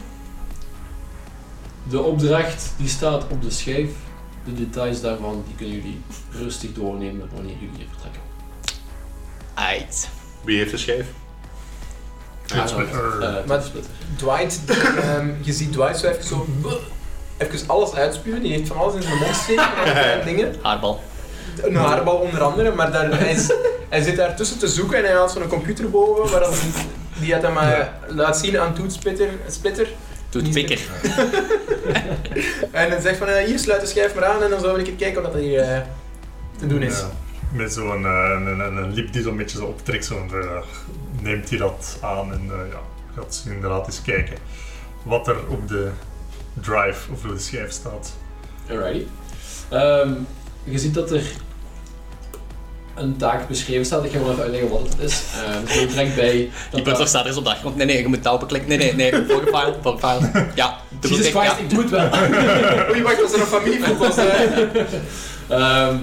Speaker 1: De opdracht die staat op de schijf. De details daarvan die kunnen jullie rustig doornemen wanneer jullie hier vertrekken.
Speaker 4: Ait.
Speaker 3: Wie heeft de schijf?
Speaker 5: Splitter.
Speaker 1: Eh,
Speaker 2: Maar- Dwight, ehm, je ziet Dwight zo even zo... eh, Even alles uitspuwen, die heeft van alles in zijn mond steken en allerlei dingen.
Speaker 4: Haarbal.
Speaker 2: Een haarbal onder andere, maar daar, hij, is- hij zit daar tussen te zoeken en hij haalt zo'n computer boven, waar dat, die had hem maar laat zien aan Toet Splitter, Splitter.
Speaker 4: Doet pikker.
Speaker 2: En hij zegt van, eh, hier sluit de schijf maar aan en dan zou ik kijken of dat hier eh, te doen is.
Speaker 5: Ja. Met zo'n eh, een, een, een lip die zo'n beetje zo optrekt, zo'n, eh, neemt hij dat aan en eh, ja, gaat ze inderdaad eens kijken wat er op de drive of op de schijf staat.
Speaker 1: Alrighty. Ehm, je ziet dat er een taak beschreven staat. Ik ga wel even uitleggen wat het is. Ehm er staat direct bij.
Speaker 4: Die butler staat er eens op de achtergrond. Nee, nee, je moet daar klikken. Nee, nee, nee. Vorige file, vorige file. Ja, dubbel
Speaker 1: Jesus
Speaker 4: tik.
Speaker 1: Christ,
Speaker 4: Ja.
Speaker 1: ik moet wel.
Speaker 2: Oei, wacht, was er een familievoetbal? eh?
Speaker 1: Ehm,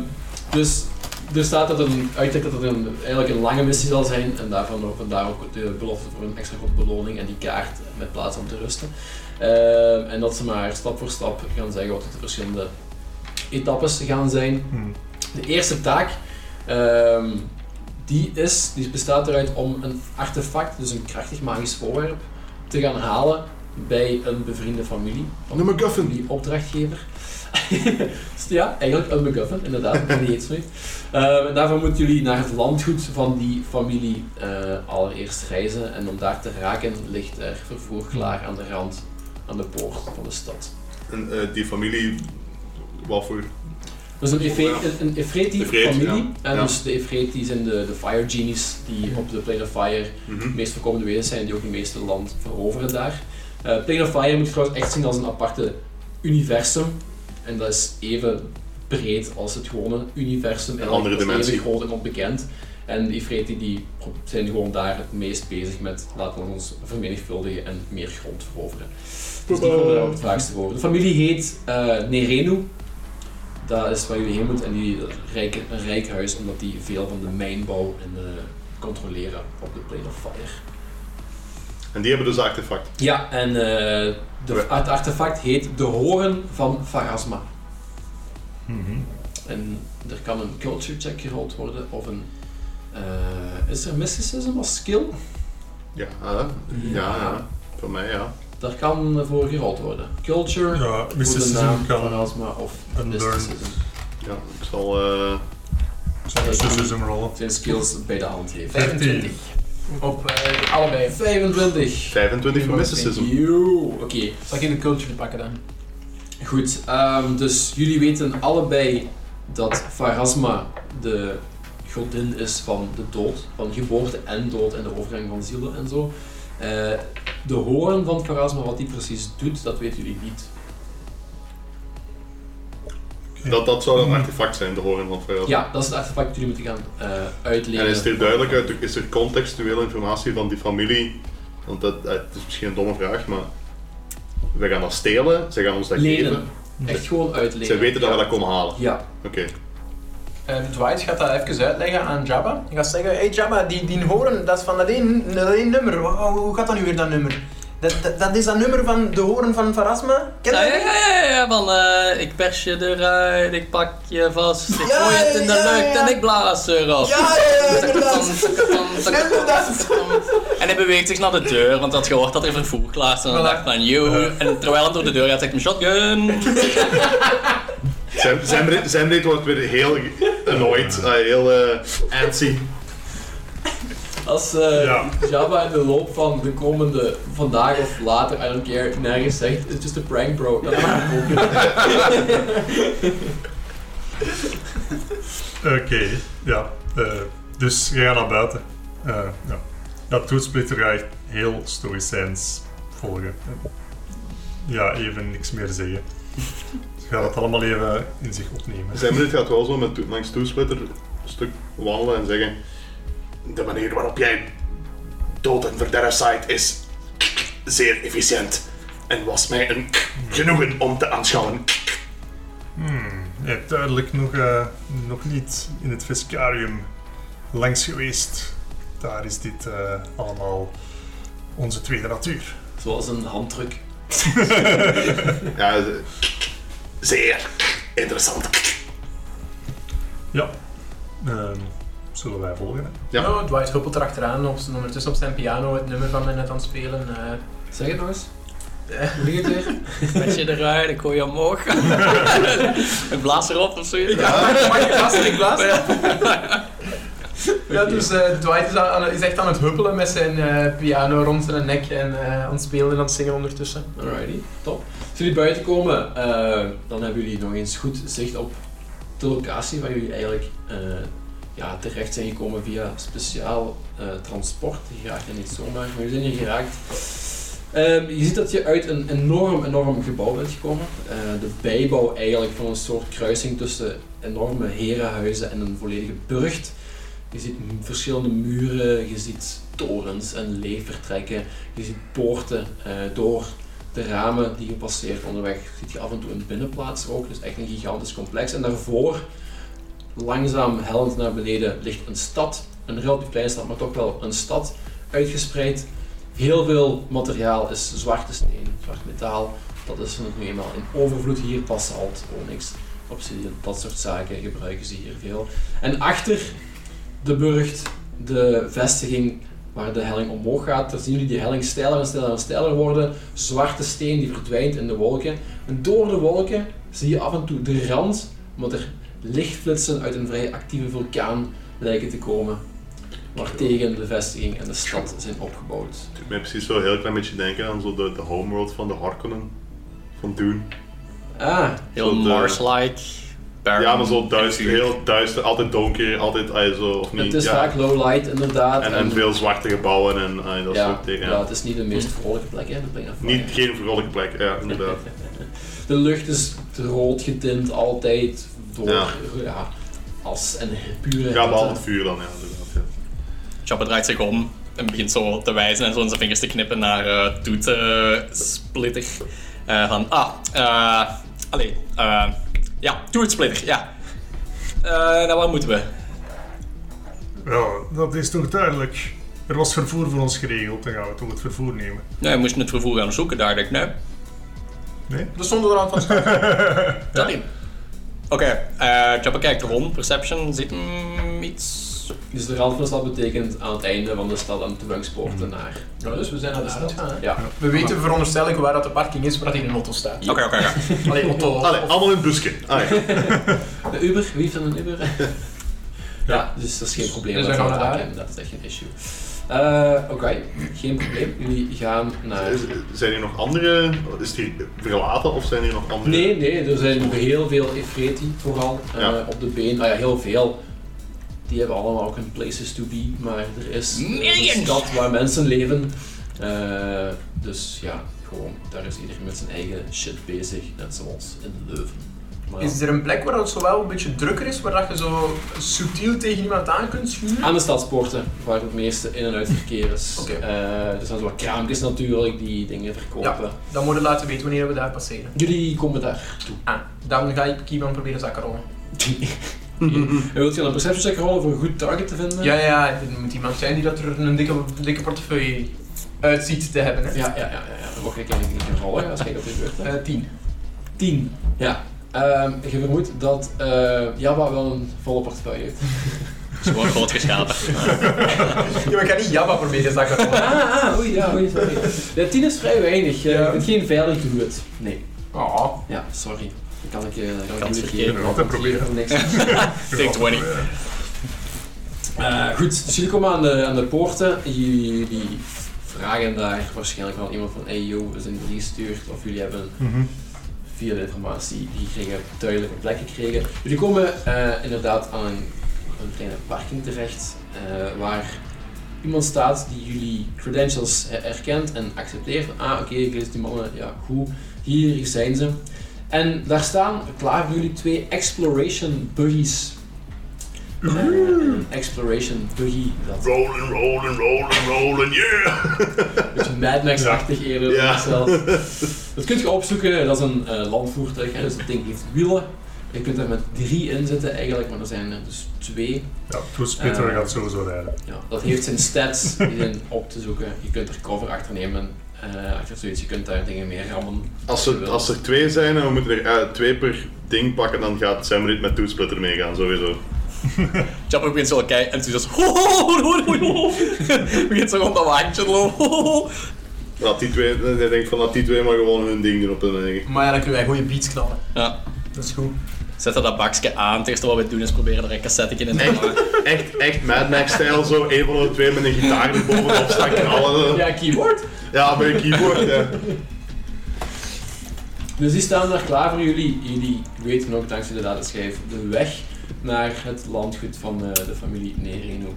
Speaker 1: dus er staat dat een uittrek dat het een, eigenlijk een lange missie zal zijn en daarvan ook, vandaar ook de belofte voor een extra grote beloning en die kaart met plaats om te rusten. Ehm, en dat ze maar stap voor stap gaan zeggen wat de verschillende etappes gaan zijn.
Speaker 5: Hmm.
Speaker 1: De eerste taak, ehm, die, is, die bestaat eruit om een artefact, dus een krachtig magisch voorwerp, te gaan halen bij een bevriende familie.
Speaker 3: Een MacGuffin.
Speaker 1: Die opdrachtgever. Dus ja, eigenlijk een MacGuffin, inderdaad, die heet zo niet. Ehm, en daarvoor moeten jullie naar het landgoed van die familie eh, allereerst reizen. En om daar te raken ligt er vervoer klaar aan de rand, aan de poort van de stad.
Speaker 3: En eh, die familie, wat voor...
Speaker 1: Dat is Dus een, Efe, een, een Efreti
Speaker 3: Efreet,
Speaker 1: familie.
Speaker 3: Oh, ja.
Speaker 1: En
Speaker 3: Ja.
Speaker 1: dus de Efreti zijn de, de fire genies die op de Plane of Fire de
Speaker 3: Mhm.
Speaker 1: meest voorkomende wezens zijn die ook het meeste land veroveren daar. Eh Plane of Fire moet je trouwens echt zien als een aparte universum. En dat is even breed als het gewone universum. En
Speaker 3: Een andere
Speaker 1: dat is
Speaker 3: dimensie.
Speaker 1: Even groot en onbekend. En de Ifriti die pro- zijn gewoon daar het meest bezig met laten we ons vermenigvuldigen en meer grond veroveren. Dus die komen daar ook het vaakste over. De familie heet eh, Nerenu. Dat is waar jullie heen moeten. En die rijken, een rijk huis omdat die veel van de mijnbouw en de controleren op de Plane of Fire.
Speaker 3: En die hebben dus artefact.
Speaker 1: Ja, en eh, de, het artefact heet de Horen van Pharasma.
Speaker 5: Mhm.
Speaker 1: En er kan een culture check gerold worden of een. eh, is er mysticism als skill?
Speaker 3: Ja, hè? ja, ja. Voor mij, ja.
Speaker 1: Daar kan voor gerold worden. Culture,
Speaker 5: Ja,
Speaker 1: voor de naam
Speaker 5: mysticism kan
Speaker 1: Pharasma of
Speaker 5: unlearn.
Speaker 1: mysticism.
Speaker 3: Ja, ik zal... eh,
Speaker 5: zo'n mysticism rollen.
Speaker 1: Zijn skills bij de hand heeft.
Speaker 2: 25. Op eh, allebei.
Speaker 1: 25.
Speaker 3: 25 voor mysticism.
Speaker 1: Yo, Oké.
Speaker 2: Zal ik in de culture pakken dan?
Speaker 1: Goed, ehm, dus jullie weten allebei dat Pharasma de godin is van de dood, van geboorte en dood en de overgang van zielen en zo. Eh, de hoorn van Pharasma, wat die precies doet, dat weten jullie niet.
Speaker 3: Dat, dat zou een artefact zijn, de horen van Verhaal.
Speaker 1: Ja, dat is het artefact dat jullie moeten gaan eh
Speaker 3: En is
Speaker 1: uitleggen.
Speaker 3: er duidelijk uit, is er contextuele informatie van die familie? Want dat, dat is misschien een domme vraag, maar we gaan dat stelen, ze gaan ons dat
Speaker 1: Lenen.
Speaker 3: geven.
Speaker 1: Echt gewoon uitleggen.
Speaker 3: Ze weten dat
Speaker 1: ja.
Speaker 3: we dat komen halen.
Speaker 1: Ja,
Speaker 3: Oké,
Speaker 2: Eh, Dwight gaat dat even uitleggen aan Jabba. Hij gaat zeggen, hey Jabba, die, die horen, dat is van dat één, dat één nummer. Wa- wa- Hoe gaat dat nu weer, dat nummer? Dat, dat, dat is dat nummer van de horen van Farasma? Ken je
Speaker 4: Ja,
Speaker 2: dat?
Speaker 4: ja, ja, ja, ja, van eh, ik pers je eruit, ik pak je vast, ik
Speaker 2: Ja,
Speaker 4: gooi het in de
Speaker 2: ja, ja,
Speaker 4: lucht
Speaker 2: ja.
Speaker 4: en ik blaas erop.
Speaker 2: Ja, ja, ja,
Speaker 4: Tukketam,
Speaker 2: inderdaad.
Speaker 4: tukketam, tukketam,
Speaker 2: Inderdaad.
Speaker 4: tukketam. En hij beweegt zich naar de deur, want hij had gehoord dat er vervoer klaar stond. En hij dacht van, yo. En terwijl hij door de deur gaat, zegt hij, shotgun.
Speaker 3: zijn, zijn, re- zijn reet wordt weer heel annoyed, eh, heel eh antsy.
Speaker 1: als eh,
Speaker 5: Ja.
Speaker 1: Jabba in de loop van de komende vandaag of later, I don't care, nergens zegt, it's just a prank bro. Dat maakt ook niet.
Speaker 5: Oké, ja. eh, dus je gaat naar buiten. Eh, ja. Dat toetsplitter ga ik heel stoïcijns volgen. Ja, even niks meer zeggen. Ze gaat het allemaal even in zich opnemen.
Speaker 3: Zijn reet gaat wel zo met to- langs toesplitter een stuk wandelen en zeggen de manier waarop jij dood en verderf zaait is zeer efficiënt en was mij een genoegen om te aanschouwen.
Speaker 5: Hmm, je hebt duidelijk nog, eh, nog niet in het Vescarium langs geweest. Daar is dit eh, allemaal onze tweede natuur.
Speaker 1: Zoals een handdruk.
Speaker 3: Ja, ze- zeer interessant.
Speaker 5: Ja. Ehm, zullen wij volgen. Hè?
Speaker 3: Ja.
Speaker 2: Nou, Dwight huppelt erachteraan, op, zijn- ondertussen op zijn piano, het nummer van mij net aan het spelen. eh.
Speaker 1: Zeg het nog eens.
Speaker 2: Eh.
Speaker 1: Hoe ging het weer?
Speaker 4: Met je eruit, ik gooi je omhoog. Een blaas erop of zoiets.
Speaker 2: Ja, mag je blazen, ik blaas.
Speaker 4: Ja.
Speaker 2: Ja, dus eh, Dwight is, aan- is echt aan het huppelen met zijn eh, piano rond zijn nek en eh, aan het spelen en aan het zingen ondertussen.
Speaker 1: Alrighty, top. Als jullie buiten komen, eh, dan hebben jullie nog eens goed zicht op de locatie waar jullie eigenlijk eh, ja, terecht zijn gekomen via speciaal eh, transport. Je raakt er niet zomaar, maar je zijn hier geraakt. Ehm, je ziet dat je uit een enorm, enorm gebouw bent gekomen. Eh, de bijbouw eigenlijk van een soort kruising tussen enorme herenhuizen en een volledige burcht. Je ziet m- verschillende muren, je ziet torens en leefvertrekken, je ziet poorten eh, door de ramen die je passeert onderweg ziet je af en toe een binnenplaats ook. Dus echt een gigantisch complex. En daarvoor, langzaam hellend naar beneden, ligt een stad. Een relatief kleine stad, maar toch wel een stad. Uitgespreid. Heel veel materiaal is zwarte steen, zwart metaal. Dat is er nu eenmaal in overvloed hier. Basalt, onyx, obsidian, dat soort zaken gebruiken ze hier veel. En achter de burcht, de vestiging waar de helling omhoog gaat, dan zien jullie die helling steiler en steiler en steiler worden zwarte steen die verdwijnt in de wolken. En door de wolken zie je af en toe de rand, omdat er lichtflitsen uit een vrij actieve vulkaan lijken te komen. Waartegen de vestiging en de stad zijn opgebouwd.
Speaker 3: doet mij precies zo een heel klein beetje denken aan zo de, de homeworld van de Harkonnen. Van Dune.
Speaker 1: Ah,
Speaker 4: Heel
Speaker 3: Zo de-
Speaker 4: Mars-like.
Speaker 3: eh,
Speaker 4: barren.
Speaker 3: Ja, maar zo duister,
Speaker 4: En vuur.
Speaker 3: heel duister, altijd donker, altijd ah, zo, of niet?
Speaker 1: het is
Speaker 3: ja.
Speaker 1: vaak low light inderdaad.
Speaker 3: En, en veel zwarte gebouwen en ah, dat
Speaker 1: ja,
Speaker 3: soort dingen.
Speaker 1: ja, het is niet de meest vrolijke plek, hè? Dat ben ik aan het
Speaker 3: Niet,
Speaker 1: vragen.
Speaker 3: geen vrolijke plek, ja, inderdaad.
Speaker 1: De lucht is rood getint altijd door ja.
Speaker 3: Ja.
Speaker 1: as en pure
Speaker 3: Ja, behalve
Speaker 1: hitte.
Speaker 3: het vuur dan, ja, inderdaad. Ja.
Speaker 4: Chopper draait zich om en begint zo te wijzen en zo in zijn vingers te knippen naar eh Toet eh, Splitter. Eh, van, ah, eh, allee, eh, ja, Toet Splitter, ja. Eh nou, waar moeten we?
Speaker 5: Wel, dat is toch duidelijk. Er was vervoer voor ons geregeld, dan gaan we toch het vervoer nemen.
Speaker 4: Nou, we moesten het vervoer gaan zoeken, duidelijk, nee.
Speaker 5: Nee?
Speaker 2: Dus zonder aan van straat.
Speaker 4: Dat niet. Oké, eh Chopper kijkt rond, Perception, zit mm, iets...
Speaker 1: Dus de rand van de stad betekent aan het einde van de stad aan de toegangspoorten naar.
Speaker 2: Ja, dus we zijn naar de stad gaan. hè.
Speaker 1: Ja.
Speaker 2: We weten veronderstel ik waar dat de parking is, waar dat in een auto staat.
Speaker 4: Oké, oké, oké.
Speaker 2: Allee, auto.
Speaker 3: Allee, allemaal in busken. Allee.
Speaker 1: De Uber, wie heeft dan een Uber? ja. dus dat is geen probleem.
Speaker 2: Dus
Speaker 1: dat
Speaker 2: dan
Speaker 1: valt
Speaker 2: gaan we
Speaker 1: aan,
Speaker 2: daar.
Speaker 1: Dat is echt geen issue. Eh, Oké, geen probleem. Jullie gaan naar.
Speaker 3: Eh, Is- Zijn er nog andere? Is die verlaten of zijn er nog andere?
Speaker 1: Nee, nee, er zijn heel veel Efreti vooral eh,
Speaker 3: Ja.
Speaker 1: op de been. Ah ja, heel veel. Die hebben allemaal ook een places to be, maar er is er is een
Speaker 4: Millions.
Speaker 1: stad waar mensen leven. Eh, dus ja, gewoon, daar is iedereen met zijn eigen shit bezig, net zoals in Leuven. Maar ja.
Speaker 2: Is er een plek waar het zowel een beetje drukker is, waar dat je zo subtiel tegen iemand aan kunt schuren?
Speaker 1: Aan de stadspoorten, waar het meeste in- en uit verkeer is.
Speaker 2: Oké.
Speaker 1: Eh, er zijn zo wat kraampjes natuurlijk die dingen verkopen.
Speaker 2: Dan moeten we laten weten wanneer we daar passeren.
Speaker 1: Jullie komen daar.
Speaker 2: Ah, dan ga ik iemand proberen zakken rollen.
Speaker 1: En wilt je dan een perception check rollen voor een goed target te vinden?
Speaker 2: Ja, ja, er moet iemand zijn die dat er een dikke, dikke portefeuille uitziet te hebben. Hè.
Speaker 1: Ja, ja, ja, ja, ja. Dan mag ik eigenlijk niet gaan rollen, als ik op je beurt hè.
Speaker 2: Eh, tien.
Speaker 1: 10. Ja. Ehm, je vermoedt dat eh Jabba wel een volle portefeuille heeft.
Speaker 4: Ze wordt groot geschapen.
Speaker 2: Ja, maar ik ga niet Jabba proberen zakken rollen.
Speaker 1: Ah, ah, oei, ja, oei, sorry. Ja, 10 is vrij weinig. Eh,
Speaker 2: Ja.
Speaker 1: Je bent geen veilig doelwit. Nee.
Speaker 2: Oh.
Speaker 1: Ja, sorry. Dan kan ik eh, je kan ik
Speaker 4: Kans
Speaker 1: jullie
Speaker 4: vergeven.
Speaker 1: geven,
Speaker 5: Altijd
Speaker 1: want hier
Speaker 5: proberen.
Speaker 1: voor niks.
Speaker 4: Take 20.
Speaker 1: Eh, goed, dus jullie komen aan de, aan de poorten. Jullie, jullie vragen daar waarschijnlijk wel iemand van, hey yo, we zijn hier gestuurd. Of jullie hebben
Speaker 5: Mhm.
Speaker 1: via de informatie die kregen duidelijke plek gekregen. Jullie komen eh, inderdaad aan een, een kleine parking terecht, eh, waar iemand staat die jullie credentials eh, herkent en accepteert. Ah, oké, ik lees die mannen, ja, goed. Hier, hier zijn ze. En daar staan klaar voor jullie twee exploration buggies. Eh, een exploration buggy, dat
Speaker 3: Rolling, rolling, rolling, rolling, yeah!
Speaker 1: een beetje Mad Max-achtig eerder
Speaker 3: Ja.
Speaker 1: dan zelfs. Dat kunt je opzoeken, dat is een eh, landvoertuig, hè, dus dat ding heeft wielen. Je kunt er met drie in zitten eigenlijk, maar er zijn er dus twee.
Speaker 5: Ja, Toet Splitter
Speaker 1: Eh.
Speaker 5: gaat sowieso rijden.
Speaker 1: Ja, dat heeft zijn stats, die zijn op te zoeken. Je kunt er cover achter nemen, eh, achter zoiets, je kunt daar dingen mee rammen.
Speaker 3: Als er, als er twee zijn en we moeten er eh, twee per ding pakken, dan gaat Samrit met toetsplitter meegaan, sowieso.
Speaker 4: Chapper begint zo kei enthousiast. Ho, ho, ho, ho, ho, ho. begint zo rond dat wagentje te lopen. Ho, ho, ho.
Speaker 3: Laat die twee, ik denk van laat die twee maar gewoon hun ding doen op hun eigen.
Speaker 2: Maar ja, dan kunnen wij goede beats knallen.
Speaker 4: Ja.
Speaker 2: Dat is goed.
Speaker 4: Zetten dat bakje aan. Het eerste wat we doen is proberen er een cassette in te hangen.
Speaker 3: Echt, echt Mad Max-stijl, zo een van de twee met een gitaar erbovenop staan knallen. Ja,
Speaker 1: Ja, keyboard.
Speaker 3: met een keyboard. Ja.
Speaker 1: Dus die staan daar klaar voor jullie. Jullie weten ook dankzij de dataschijf de weg naar het landgoed van eh, de familie Nerino.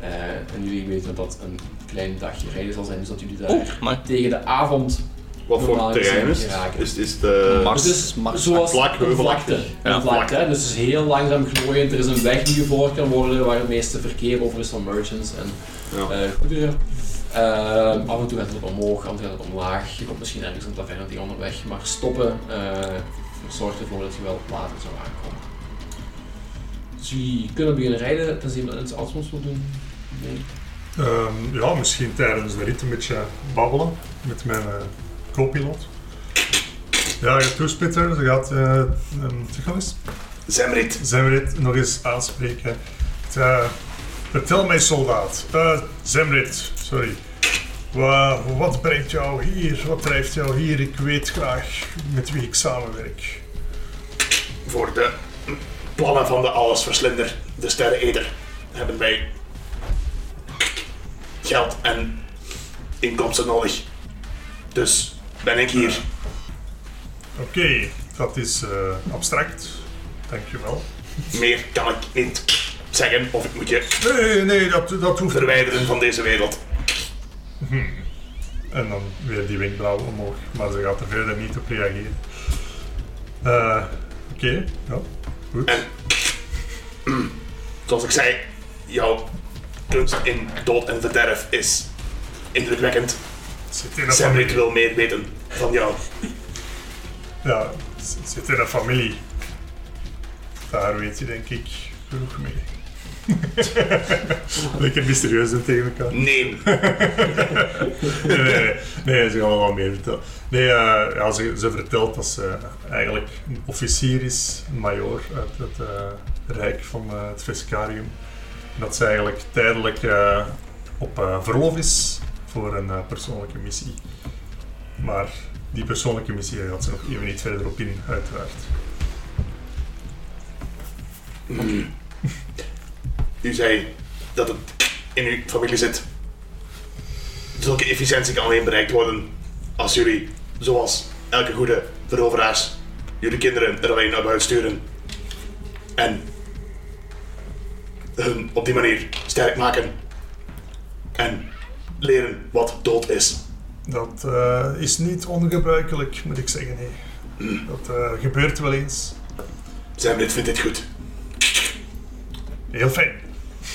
Speaker 1: Eh, en jullie weten dat dat een klein dagje rijden zal zijn, dus dat jullie daar
Speaker 4: Oeh, maar
Speaker 1: tegen de avond
Speaker 3: Wat voor
Speaker 1: Normaal
Speaker 3: terrein is
Speaker 1: gezien
Speaker 3: het? eh,
Speaker 1: geraken.
Speaker 3: Is, is de...
Speaker 4: Mars.
Speaker 1: Het is
Speaker 4: Mars.
Speaker 1: Dus zoals
Speaker 3: vlak,
Speaker 1: een
Speaker 3: heuvelachtig.
Speaker 1: vlakte.
Speaker 4: Ja,
Speaker 1: een vlakte, hè. dus het is heel langzaam glooiend. Er is een weg die gevolgd kan worden waar het meeste verkeer over is van merchants en
Speaker 3: Ja.
Speaker 1: eh, goederen. Ehm, af en toe gaat het omhoog, af en toe gaat het omlaag. Je komt misschien ergens een taverne tegen onderweg, maar stoppen eh, zorgt ervoor dat je wel later zou aankomen. Dus jullie kunnen beginnen rijden, tenzij iemand iets anders wil doen. Nee.
Speaker 5: Ehm, ja, misschien tijdens de rit een beetje babbelen met mijn eh co-piloot. Ja, je gaat toespitter, ze gaat eh um,
Speaker 3: Zemrit!
Speaker 5: Zemrit nog eens aanspreken. Het, eh, vertel mij, soldaat. Eh, Zemrit, sorry. Wa- wat brengt jou hier? Wat drijft jou hier? Ik weet graag met wie ik samenwerk.
Speaker 3: Voor de plannen van de allesverslinder, de sterreneter, hebben wij geld en inkomsten nodig. Dus ben ik hier.
Speaker 5: Oké, dat is eh, abstract. Dankjewel.
Speaker 3: Meer kan ik niet zeggen of ik moet je
Speaker 5: Nee, nee, dat, dat hoeft
Speaker 3: verwijderen van deze wereld.
Speaker 5: En dan weer die wenkbrauw omhoog, maar ze gaat er verder niet op reageren. Eh, Oké, ja, goed.
Speaker 3: En mm, zoals ik zei, jouw kunst in dood en verderf is indrukwekkend.
Speaker 5: Zit in een
Speaker 3: Zemrit
Speaker 5: familie.
Speaker 3: wil meer weten van jou.
Speaker 5: Ja, z- zit in een familie. Daar weet je denk ik genoeg mee. Lekker mysterieus doen tegen elkaar.
Speaker 3: Neem
Speaker 5: nee, nee, nee. nee, ze gaan wel wat meer vertellen. Nee, eh, ja, ze, ze vertelt dat ze eigenlijk een officier is, een major uit het eh, Rijk van eh, het Vescarium. En dat ze eigenlijk tijdelijk eh, op eh, verlof is voor een eh, persoonlijke missie. Maar die persoonlijke missie daar gaat ze nog even niet verder op in, uiteraard.
Speaker 3: U zei dat het in uw familie zit. Zulke efficiëntie kan alleen bereikt worden als jullie, zoals elke goede veroveraars, jullie kinderen er alleen naar buiten sturen. En hun op die manier sterk maken. En leren wat dood is.
Speaker 5: Dat eh, is niet ongebruikelijk, moet ik zeggen. Nee. Dat eh, gebeurt wel eens.
Speaker 3: Zemrit vindt dit goed.
Speaker 5: Heel fijn.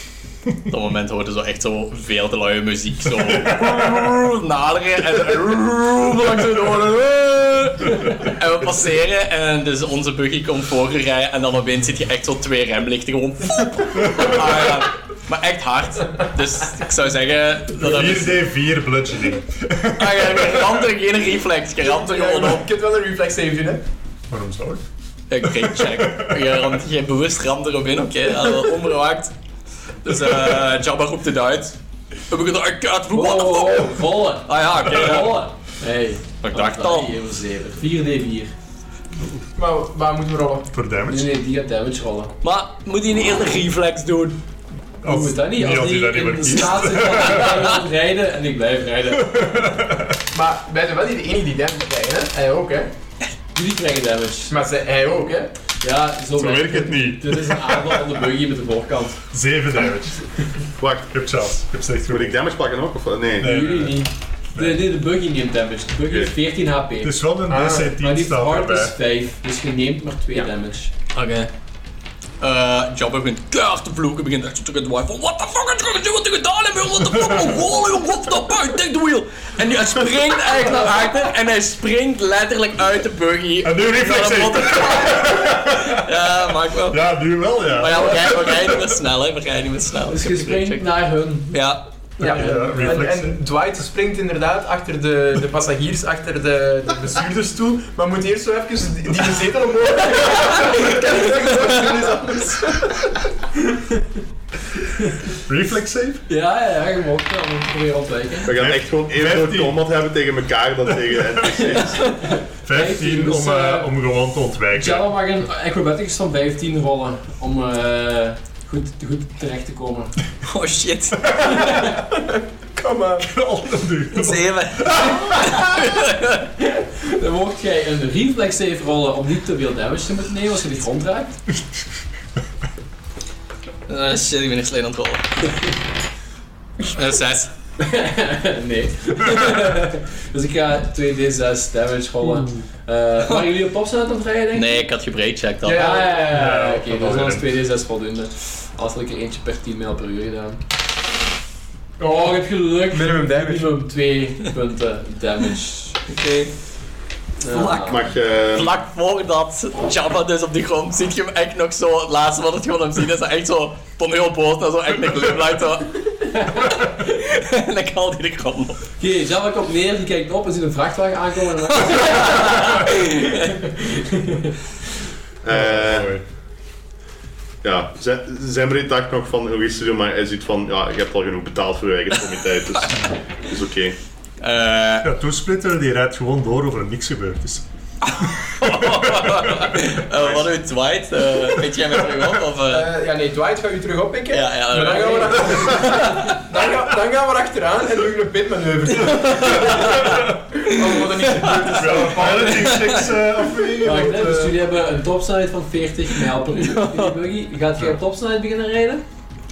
Speaker 4: Op dat moment hoorde zo echt zo veel te luie muziek. Zo naderen en langs de oren. En we passeren en dus onze buggy komt voorgerijden en dan opeens zit je echt zo twee remlichten gewoon. Ah, ja. Maar echt hard. Dus ik zou zeggen dat dat is.
Speaker 5: 4D4 bludgeoning.
Speaker 4: Ah, ja, je ramt er geen reflex, je ramt er gewoon op.
Speaker 2: Je kunt wel een reflex save doen, hè?
Speaker 5: Waarom zou ik?
Speaker 4: Oké, check. Je, ramt, je bewust ramt erop in, oké, dat is wel onbewaakt. Dus eh Jabba roept het uit. We beginnen, I can't, what
Speaker 5: Oh,
Speaker 4: the fuck?
Speaker 1: Oh, volle!
Speaker 4: Ah ja, oké. ja.
Speaker 1: Volle! Hey,
Speaker 4: Ik dacht al.
Speaker 1: 4 4D4.
Speaker 2: Maar waar moeten we rollen?
Speaker 5: Voor damage?
Speaker 1: Dus Nee, nee, die gaat damage rollen.
Speaker 4: Maar moet hij niet eerder reflex doen?
Speaker 5: Als-
Speaker 1: Hoe moet dat niet? Als
Speaker 5: als
Speaker 1: die
Speaker 5: hij dat niet
Speaker 1: in
Speaker 5: meer
Speaker 1: de
Speaker 5: kiest.
Speaker 1: staat zit van ik blijf rijden en ik blijf rijden.
Speaker 2: Maar wij zijn wel niet de enige die damage krijgen, hè? Hij ook, hè?
Speaker 1: Jullie krijgen damage.
Speaker 2: Maar ze- hij ook, hè?
Speaker 1: Ja, zo,
Speaker 5: Zo
Speaker 1: werkt
Speaker 5: werkt het niet.
Speaker 1: Dit is een aanval van de buggy met de voorkant.
Speaker 5: 7 damage.
Speaker 3: Wacht,
Speaker 5: Ik heb chance. Ik heb slecht
Speaker 3: moet
Speaker 5: goed.
Speaker 3: ik damage pakken ook? Of nee?
Speaker 5: Nee.
Speaker 1: Jullie niet. De, nee, de buggy neemt damage. De buggy heeft 14 HP.
Speaker 5: Het is wel een
Speaker 2: Ah,
Speaker 1: maar
Speaker 5: DC-10
Speaker 1: die
Speaker 5: staat
Speaker 1: hard is
Speaker 5: erbij.
Speaker 1: 5, dus je neemt maar 2 damage.
Speaker 4: Oké. Eh, Jabba begint keihard te vloeken, begint echt zo terug te waaien van What the fuck is gonna do wat ik gedaan heb, joh? What the fuck, oh wow, joh, what the fuck, take the wheel! En hij springt eigenlijk naar achter en hij springt letterlijk uit de buggy.
Speaker 5: En nu reflex
Speaker 4: Ja, wat
Speaker 5: save.
Speaker 4: de- Ja, maakt wel.
Speaker 5: Ja, nu wel, ja.
Speaker 4: Maar Ah, ja, we rijden, we rijden niet meer snel, hè. We rijden niet meer snel.
Speaker 1: Dus je
Speaker 4: Ik heb het
Speaker 1: springt
Speaker 4: gecheckt.
Speaker 1: naar hun.
Speaker 4: Ja.
Speaker 2: Ja, en,
Speaker 5: reflex,
Speaker 2: en Dwight springt inderdaad achter de, de passagiers, achter de, de bestuurders toe, maar moet eerst zo even die die zetel omhoog. Ik kan niet zeggen, zo, dat is anders.
Speaker 5: Reflex save?
Speaker 1: Ja, ja, ja, je mag wel. Ik probeer ontwijken.
Speaker 3: We gaan echt gewoon even door
Speaker 5: Vijftien.
Speaker 3: combat hebben tegen elkaar dan tegen NPC's.
Speaker 5: 15
Speaker 1: dus,
Speaker 5: om, eh,
Speaker 1: eh,
Speaker 5: om gewoon te ontwijken.
Speaker 1: Jella mag een acrobatics van 15 rollen om eh, goed, goed terecht te komen.
Speaker 4: Oh shit,
Speaker 2: Kom aan.
Speaker 5: Al te
Speaker 4: een
Speaker 5: duur.
Speaker 4: zeven.
Speaker 1: Dan mocht jij een reflex save rollen om niet te veel damage te moeten nemen als je de grond raakt.
Speaker 4: Eh, shit, ik ben echt slecht aan het rollen. Eh, zes.
Speaker 1: nee. dus ik ga 2d6 damage rollen. Eh waren jullie op opzet aan het rijden, denk ik?
Speaker 4: Nee, ik had gebraicheckt al.
Speaker 1: Ja, ja, ja, ja,
Speaker 5: Ja,
Speaker 1: oké,
Speaker 5: dat
Speaker 1: dat
Speaker 5: wel
Speaker 1: was
Speaker 5: weer.
Speaker 1: 2d6 voldoende. Als had ik er eentje per 10 mijl per uur gedaan. Oh, ik heb geluk.
Speaker 2: Minimum damage.
Speaker 1: Minimum 2 punten damage.
Speaker 4: Oké.
Speaker 1: Ja.
Speaker 4: Vlak.
Speaker 3: Mag eh, je...
Speaker 4: Vlak voordat Jabba dus op de grond ziet je hem echt nog zo, het laatste wat het gewoon hem ziet is dat echt zo van heel boos naar zo echt een glimlach zo. en dan haalt hij de grond op.
Speaker 1: Oké, Java komt neer, die kijkt op en ziet een vrachtwagen aankomen. En dan-
Speaker 3: eh ja, Z- Zemri dacht nog van, hoe is het, maar hij ziet van, ja, je hebt al genoeg betaald voor je eigen commiteit, dus is oké.
Speaker 4: Eh,
Speaker 5: Ja, Toesplitter die rijdt gewoon door over niks gebeurd is.
Speaker 4: eh, wat doet Dwight? Eh weet jij mij terug op? Of, eh,
Speaker 2: Eh, ja, nee, Dwight gaat u terug oppikken.
Speaker 4: Ja, eh. ja,
Speaker 2: maar dan gaan, we achter- dan, ga- dan gaan we achteraan en doen we een pitmanoeuvre. Oh, wat er niet gebeurd is.
Speaker 5: Ja, piloting checks eh, afwegen.
Speaker 1: Wacht,
Speaker 5: want,
Speaker 1: hè, dus
Speaker 5: eh,
Speaker 1: jullie hebben een topsnelheid van 40 mijl per uur. Jullie buggy, gaat je op topsnelheid beginnen rijden?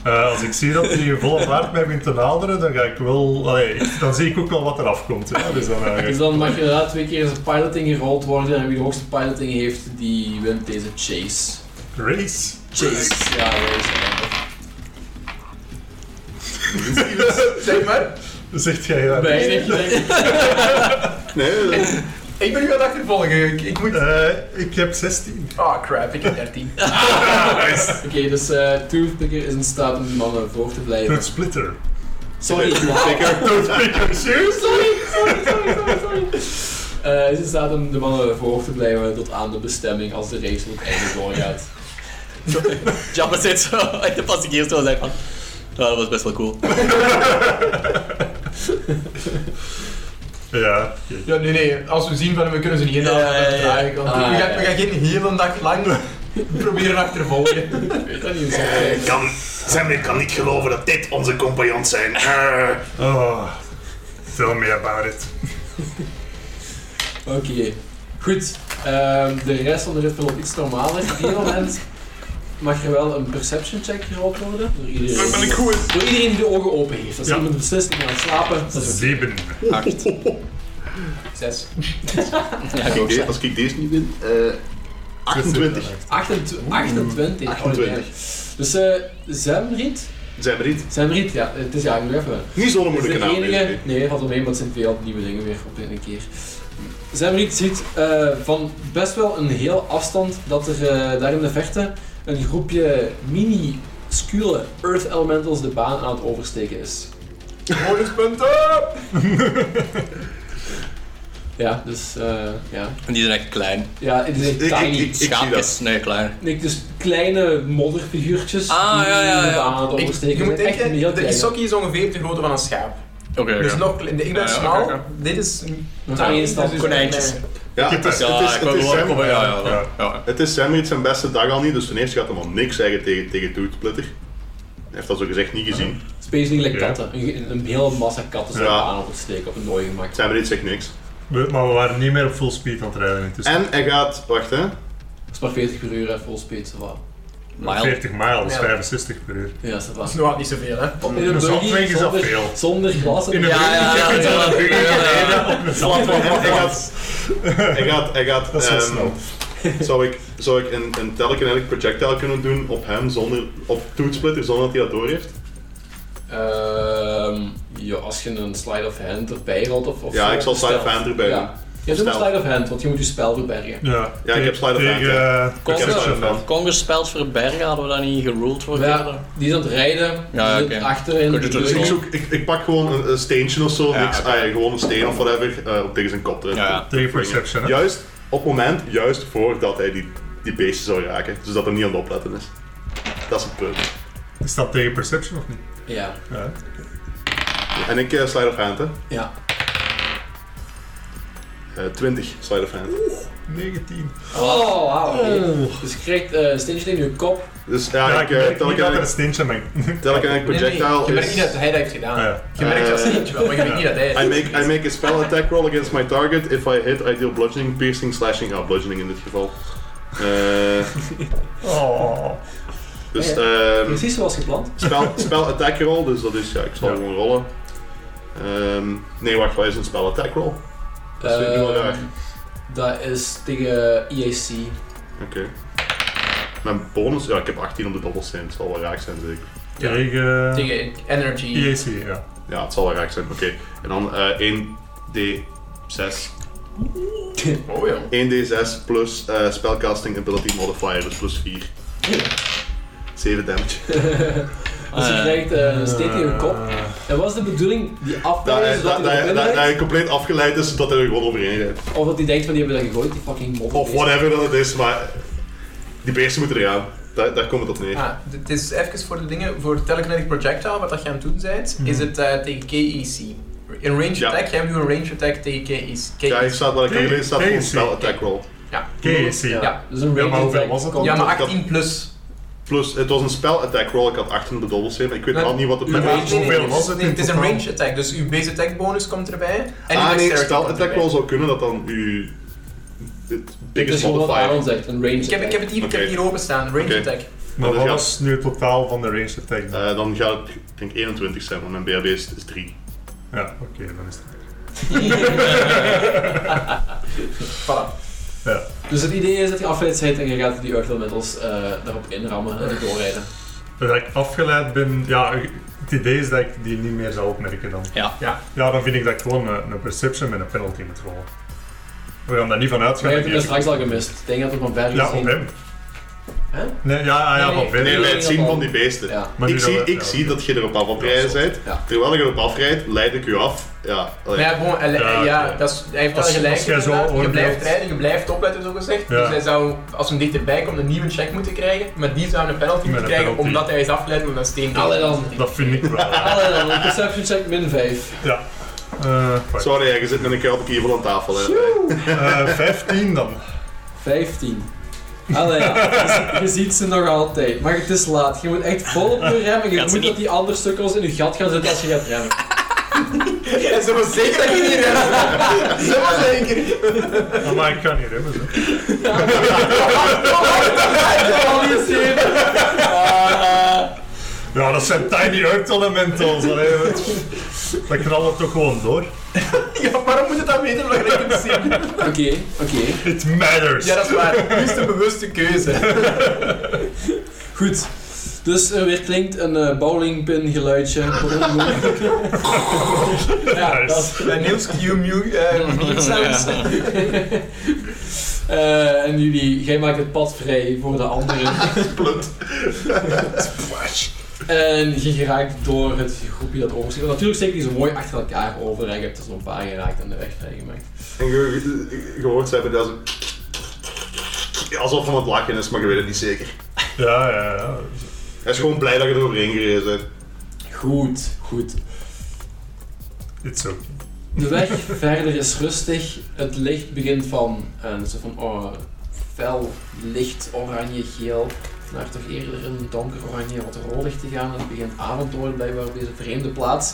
Speaker 5: eh, als ik zie dat hij volle vaart mij begint te naderen, dan ga ik wel... allee, ik- dan zie ik ook wel wat er afkomt. hè. Dus dan, eh,
Speaker 1: Dus dan mag je inderdaad twee keer zijn piloting gerold worden en wie de hoogste piloting heeft, die wint deze chase.
Speaker 5: race.
Speaker 1: Chase, ja, dat is
Speaker 2: Zeg maar,
Speaker 5: Zegt jij dat?
Speaker 1: Weinig, denk ik.
Speaker 3: Nee, eh,
Speaker 2: ik ben u aan het achtervolgen. Ik, ik moet... Ah,
Speaker 5: Eh, ik heb 16.
Speaker 2: crap, ik heb 13.
Speaker 1: Oké, dus eh Toothpicker is in staat om die mannen voor te blijven.
Speaker 5: Toesplitter.
Speaker 1: Sorry,
Speaker 5: Toesplitter, seriously?
Speaker 1: Sorry, sorry, sorry, sorry, sorry. Eh, Hij is in staat om de mannen voor te blijven tot aan de bestemming als de race op het einde doorgaat.
Speaker 4: Jabba zit zo in de passagiers en zegt van, "Nou, dat was best wel cool.
Speaker 5: Ja.
Speaker 2: Ja, nee, nee. Als we zien van we kunnen ze niet inhalen,
Speaker 4: Ja, ja,
Speaker 2: dan
Speaker 4: ja.
Speaker 2: draai ik. Want
Speaker 1: Ah,
Speaker 2: we, gaan,
Speaker 1: ja.
Speaker 2: we gaan geen hele dag lang proberen achtervolgen.
Speaker 1: Ik weet dat niet, zo.
Speaker 6: Ik kan, Sammy kan niet geloven dat dit onze compagnons zijn. Eh,
Speaker 5: Oh, tell me about it.
Speaker 1: Oké, goed. Ehm, de rest van de rit verloopt iets normaler. Op ieder moment mag er wel een perception check gerold worden. Door iedereen,
Speaker 5: ben ik goed.
Speaker 1: Door iedereen die de ogen open heeft. Als
Speaker 5: Ja.
Speaker 1: iemand beslist, ik ga slapen. Dus Dat is
Speaker 5: 7.
Speaker 4: Acht.
Speaker 1: zes.
Speaker 4: Ja, ik ook.
Speaker 3: oké, als ik deze niet win, eh 28.
Speaker 1: 28. 28. Oh,
Speaker 3: 28.
Speaker 1: nee. Dus eh Zemrit?
Speaker 3: Zemri,
Speaker 1: Zemrit, ja. Het is ja, ik moet even...
Speaker 3: niet zo'n
Speaker 1: Het is
Speaker 3: moeilijke
Speaker 1: de
Speaker 3: naam.
Speaker 1: enige...
Speaker 3: deze.
Speaker 1: Nee, valt wel mee, maar het zijn veel nieuwe dingen weer op één keer. Zemrit ziet eh, van best wel een heel afstand dat er eh, daar in de verte een groepje mini-scule Earth Elementals de baan aan het oversteken is.
Speaker 2: Bonuspunten!
Speaker 1: Ja, dus eh, ja.
Speaker 4: En die zijn echt klein.
Speaker 1: Ja, het is echt
Speaker 3: Ik-
Speaker 1: tiny.
Speaker 3: ik- zie
Speaker 4: Schaapjes? Nee, klein.
Speaker 1: Nee, dus kleine modderfiguurtjes
Speaker 4: Ah,
Speaker 1: die
Speaker 4: ja, ja,
Speaker 1: de
Speaker 4: ja.
Speaker 1: baan aan het
Speaker 2: Ik-
Speaker 1: oversteken
Speaker 2: je moet
Speaker 1: zijn. Echt een heel
Speaker 2: denken, de
Speaker 1: kleine.
Speaker 2: Isokki is ongeveer de grootte van een schaap.
Speaker 4: Oké, oké.
Speaker 2: Dus nog, klein- ik ben
Speaker 4: Ja, ja,
Speaker 2: smal,
Speaker 4: oké, oké.
Speaker 2: dit is... een
Speaker 1: Dan ga je
Speaker 2: tiny,
Speaker 1: in stap.
Speaker 2: dus is een
Speaker 4: Konijntjes.
Speaker 2: kleine.
Speaker 3: Ja, het is, het
Speaker 4: Ja,
Speaker 3: is,
Speaker 4: ik
Speaker 3: het
Speaker 4: wil
Speaker 3: is
Speaker 4: wel komen.
Speaker 3: Zemri.
Speaker 4: Ja, ja,
Speaker 5: Ja.
Speaker 4: ja. ja.
Speaker 3: Het is Sammy, het zijn beste dag al niet, dus ten eerste gaat hij maar niks zeggen tegen, tegen Toetplitter. Hij heeft dat zo gezegd niet gezien.
Speaker 1: Het is basically like
Speaker 5: Ja.
Speaker 1: katten. Een, een hele massa katten zijn
Speaker 3: Ja.
Speaker 1: de baan oversteken op een dooi gemaakt.
Speaker 3: Sammy zegt niks.
Speaker 5: We- Maar we waren niet meer op full speed aan het rijden intussen.
Speaker 3: En hij gaat, wacht hè,
Speaker 1: Dat is maar 40 per uur, hè, full speed, zo wat.
Speaker 4: Mile.
Speaker 5: 40 mijl, dat is
Speaker 2: Ja.
Speaker 5: 65 per uur.
Speaker 1: Ja, is dat
Speaker 2: Dat
Speaker 1: waar.
Speaker 2: is nog niet zoveel, hè.
Speaker 1: In een
Speaker 5: Dus
Speaker 1: buggy
Speaker 5: halfweg is dat
Speaker 1: zonder-
Speaker 5: veel.
Speaker 1: Zonder glas en
Speaker 5: een
Speaker 4: Ja, ja, ja. ja, ja, ja.
Speaker 3: En hij gaat, hij gaat, hij gaat,
Speaker 5: Dat is wel
Speaker 3: ehm,
Speaker 5: snel.
Speaker 3: zou ik, zou ik een, een telken eigenlijk projectile kunnen doen op hem zonder, op Toetsplitter zonder dat hij dat door heeft?
Speaker 1: Ehm, ja, als je een slide of hand erbij rolt of, of
Speaker 3: Ja,
Speaker 1: zo,
Speaker 3: ik zal slide of
Speaker 1: stealth.
Speaker 3: hand erbij
Speaker 1: Ja.
Speaker 3: doen.
Speaker 1: Je hebt een
Speaker 3: Stealth.
Speaker 1: slide of hand, want je moet je spel verbergen.
Speaker 5: Ja,
Speaker 3: Ja, ik heb slide of hand,
Speaker 5: tegen,
Speaker 3: ja.
Speaker 5: eh,
Speaker 4: Ik heb
Speaker 5: Perception
Speaker 3: slide of hand.
Speaker 5: dan.
Speaker 4: Congerspels verbergen hadden we dat niet geruled voor
Speaker 1: Ja,
Speaker 4: verder?
Speaker 1: die is aan het rijden,
Speaker 4: Ja,
Speaker 1: die
Speaker 4: oké.
Speaker 1: zit achterin.
Speaker 4: Kun je
Speaker 1: die
Speaker 4: terug
Speaker 3: Dus ik,
Speaker 1: wil-
Speaker 3: zoek, ik, ik pak gewoon een, een steentje of zo,
Speaker 4: Ja,
Speaker 3: niks,
Speaker 4: oké.
Speaker 3: ah ja, gewoon een steen of whatever, eh, op tegen zijn kop te
Speaker 4: Ja, ja.
Speaker 5: Tegen Perception, hè?
Speaker 3: Juist op het moment, juist voordat hij die, die beesten zou raken. Dus dat hij niet aan het opletten is. Dat is het punt.
Speaker 5: Is dat tegen Perception of niet?
Speaker 1: Ja.
Speaker 5: Ja.
Speaker 3: En ik eh slide of hand, hè.
Speaker 1: Ja.
Speaker 3: Eh, 20 slide of hand.
Speaker 5: 19.
Speaker 1: Oh, wauw. Dus je krijgt eh steentje in je kop.
Speaker 3: Dus ja,
Speaker 5: Ja,
Speaker 3: ik,
Speaker 5: ik
Speaker 3: eh,
Speaker 5: merk
Speaker 3: tel
Speaker 5: niet
Speaker 3: ik
Speaker 5: dat er een
Speaker 3: eigenlijk-
Speaker 5: steentje aan mijn...
Speaker 3: tel ik eigenlijk
Speaker 2: Nee, nee,
Speaker 3: projectile
Speaker 2: je merkt
Speaker 3: is-
Speaker 2: niet dat hij dat heeft gedaan.
Speaker 5: Ah, ja.
Speaker 2: Je merkt dat
Speaker 3: Eh,
Speaker 2: steentje wel, maar je weet niet dat hij het
Speaker 3: I
Speaker 2: heeft.
Speaker 3: make, I make a spell attack roll against my target. If I hit, I deal bludgeoning, piercing, slashing. Ah, bludgeoning in dit geval. Eh,
Speaker 5: Oh.
Speaker 3: dus ehm
Speaker 1: Precies zoals gepland.
Speaker 3: spel, spel attack roll, dus dat is ja, ik zal
Speaker 5: Ja.
Speaker 3: gewoon rollen. Ehm, nee, wacht, wat is een spel attack roll? Dat is weer heel
Speaker 1: Ehm,
Speaker 3: raar.
Speaker 1: dat is tegen E EAC.
Speaker 3: Oké. Mijn bonus, ja, ik heb 18 op de dobbelsteen, het zal wel raak zijn, zeker.
Speaker 5: Tegen...
Speaker 2: Tegen energy.
Speaker 5: EAC, ja.
Speaker 3: Ja, het zal wel raak zijn, oké. En dan eh 1d6.
Speaker 2: Oh ja.
Speaker 3: 1d6 plus eh, spellcasting ability modifier, dus plus 4. 7 damage.
Speaker 1: Dus je
Speaker 4: Eh,
Speaker 1: krijgt eh, een steek in je kop.
Speaker 5: Eh,
Speaker 1: En wat is de bedoeling? Die
Speaker 3: Dat
Speaker 1: afwijzen
Speaker 3: hij,
Speaker 1: zodat
Speaker 3: dat,
Speaker 1: hij
Speaker 3: hij,
Speaker 1: erin
Speaker 3: dat hij
Speaker 1: rijdt?
Speaker 3: compleet afgeleid is dat hij er gewoon overheen rijdt.
Speaker 1: Of dat hij denkt van die hebben dat gegooid, die fucking mob.
Speaker 3: Of whatever dat het is, maar die beesten moeten eraan. Daar, daar komt het op neer.
Speaker 2: Ah, d- het is even voor de dingen, voor telekinetic projectile, wat dat je aan het doen bent, is het eh, tegen KEC. Een range
Speaker 3: Ja.
Speaker 2: attack, jij doet een range attack tegen E KEC.
Speaker 3: Ja, hier staat waar ik
Speaker 5: Nee,
Speaker 3: alleen staat gewoon
Speaker 5: nee,
Speaker 3: spell
Speaker 5: nee.
Speaker 3: attack roll.
Speaker 2: Ja.
Speaker 5: KAC.
Speaker 2: Ja.
Speaker 1: Dus een
Speaker 5: Ja, maar
Speaker 1: ranged
Speaker 5: hoeveel
Speaker 1: attack
Speaker 5: was het
Speaker 1: komt
Speaker 2: ja, maar
Speaker 3: dat-
Speaker 2: 18 plus.
Speaker 3: Plus, het was een spell attack roll, ik had 18 op de dobbelsteen, maar ik weet
Speaker 2: Nee,
Speaker 3: al niet wat het
Speaker 2: Nee,
Speaker 5: Maar
Speaker 2: nee,
Speaker 3: is.
Speaker 2: nee, nee,
Speaker 5: hoeveel
Speaker 2: nee,
Speaker 5: was het
Speaker 2: nee,
Speaker 5: in
Speaker 2: het is een
Speaker 5: totaal?
Speaker 2: range attack, dus uw base attack bonus komt erbij. En uw
Speaker 3: Ah nee,
Speaker 2: dexterity
Speaker 3: spell
Speaker 2: komt
Speaker 3: attack
Speaker 2: erbij.
Speaker 3: roll zou kunnen dat dan uw... Het
Speaker 1: Het is
Speaker 3: biggest
Speaker 1: gewoon wat Aaron
Speaker 3: modifier.
Speaker 1: zegt, een range
Speaker 2: Ik heb, ik heb het hier, ik heb
Speaker 3: Oké.
Speaker 2: hier openstaan, range
Speaker 3: Oké.
Speaker 2: attack.
Speaker 5: Maar
Speaker 3: Maar dat
Speaker 5: wat was nu het totaal van de range attack? dan?
Speaker 3: Eh, dan gaat het, ik denk 21 zijn, want mijn BHB is, is 3.
Speaker 5: Ja, oké, dan is het...
Speaker 2: Voilà.
Speaker 5: Ja.
Speaker 1: Dus het idee is dat je afgeleid bent en je gaat die Earth Elementals eh daarop inrammen en er doorrijden.
Speaker 5: Dus Dat ik afgeleid ben, ja, het idee is dat ik die niet meer zal opmerken dan.
Speaker 4: Ja.
Speaker 2: Ja.
Speaker 5: Ja, dan vind ik dat ik gewoon een, een perception met een penalty moet rollen. We gaan daar niet van uitgaan.
Speaker 1: Maar je hebt
Speaker 5: dat
Speaker 1: hem dus
Speaker 5: die-
Speaker 1: straks al gemist. Ik denk dat er van ver
Speaker 5: ja,
Speaker 1: gezien-
Speaker 5: op hem.
Speaker 1: Hè?
Speaker 5: Nee, ja, ah, ja,
Speaker 1: Nee,
Speaker 5: van verder.
Speaker 3: Nee, bij
Speaker 1: nee,
Speaker 3: het zien
Speaker 1: dat
Speaker 3: van
Speaker 1: al.
Speaker 3: die beesten.
Speaker 1: Ja.
Speaker 5: Maar nu
Speaker 3: ik
Speaker 5: dat
Speaker 3: zie,
Speaker 5: we-
Speaker 3: ik
Speaker 5: ja,
Speaker 3: zie
Speaker 5: oké.
Speaker 3: dat je erop af aan het rijden bent.
Speaker 1: Ja.
Speaker 3: Terwijl ik erop afrijd, leid ik u af. Ja,
Speaker 2: Maar
Speaker 3: allee.
Speaker 2: ja, bon, hij-
Speaker 5: Ja,
Speaker 2: hij- ja,
Speaker 5: oké.
Speaker 2: dat is, hij heeft wel
Speaker 5: Als-
Speaker 2: gelijk.
Speaker 5: als jij zo
Speaker 2: inderdaad. je
Speaker 5: oordeelt-
Speaker 2: blijft rijden, je blijft opletten, zo gezegd.
Speaker 5: Ja.
Speaker 2: Dus hij zou, als hem dichterbij komt, een nieuwe check moeten krijgen. Maar die zou een penalty moeten
Speaker 5: een
Speaker 2: krijgen
Speaker 5: penalty.
Speaker 2: omdat hij is afgeleid met een steen.
Speaker 1: Allee dan.
Speaker 5: Dat vind ik wel. ja.
Speaker 1: Allee dan, een perception check min 5.
Speaker 5: ja. Eh, fuck.
Speaker 3: Sorry, ja, je zit met een kelp evil aan tafel. Hè.
Speaker 5: Eh, 15 dan.
Speaker 1: 15. Allee ja, je ziet- je ziet ze nog altijd. Maar het is laat, je moet echt vol op je remmen. Je
Speaker 4: Gaat
Speaker 1: moet
Speaker 4: ze
Speaker 1: dat
Speaker 4: niet-
Speaker 1: die andere sukkels in je gat gaan zitten als je gaat remmen.
Speaker 2: En ze was zeker dat je niet remt. Ze was zeker.
Speaker 5: Ah, maar ik kan niet remmen. Zo. Ja, dat zijn tiny earth elementals. Allee, wat- dat knallen toch gewoon door.
Speaker 2: Ja, waarom moet het dan weten omdat je het zien?
Speaker 1: Oké, oké.
Speaker 5: It matters.
Speaker 2: Ja, dat is waar. Nu is de bewuste keuze.
Speaker 1: Goed. Dus er weer klinkt een eh, bowlingpin geluidje. ja, dat is...
Speaker 2: Bij Niels Q mu- eh, meme sounds.
Speaker 1: Eh, en jullie, jij maakt het pad vrij voor de anderen. en je geraakt door het groepje dat oversteekt. Want natuurlijk steken die zo mooi achter elkaar over. En je hebt er zo'n paar geraakt en de weg vrijgemaakt.
Speaker 3: En je, je- je hoort ze hebben dat ze... Alsof van het lachen is, maar je weet het niet zeker.
Speaker 5: Ja, ja, ja.
Speaker 3: Hij is gewoon blij dat je er overheen gereden bent.
Speaker 1: Goed, goed.
Speaker 5: It's okay.
Speaker 1: De weg verder is rustig. Het licht begint van een soort van oh, fel licht oranje-geel naar toch eerder een donker oranje wat rood licht te gaan. Het begint avond te worden blijkbaar op deze vreemde plaats.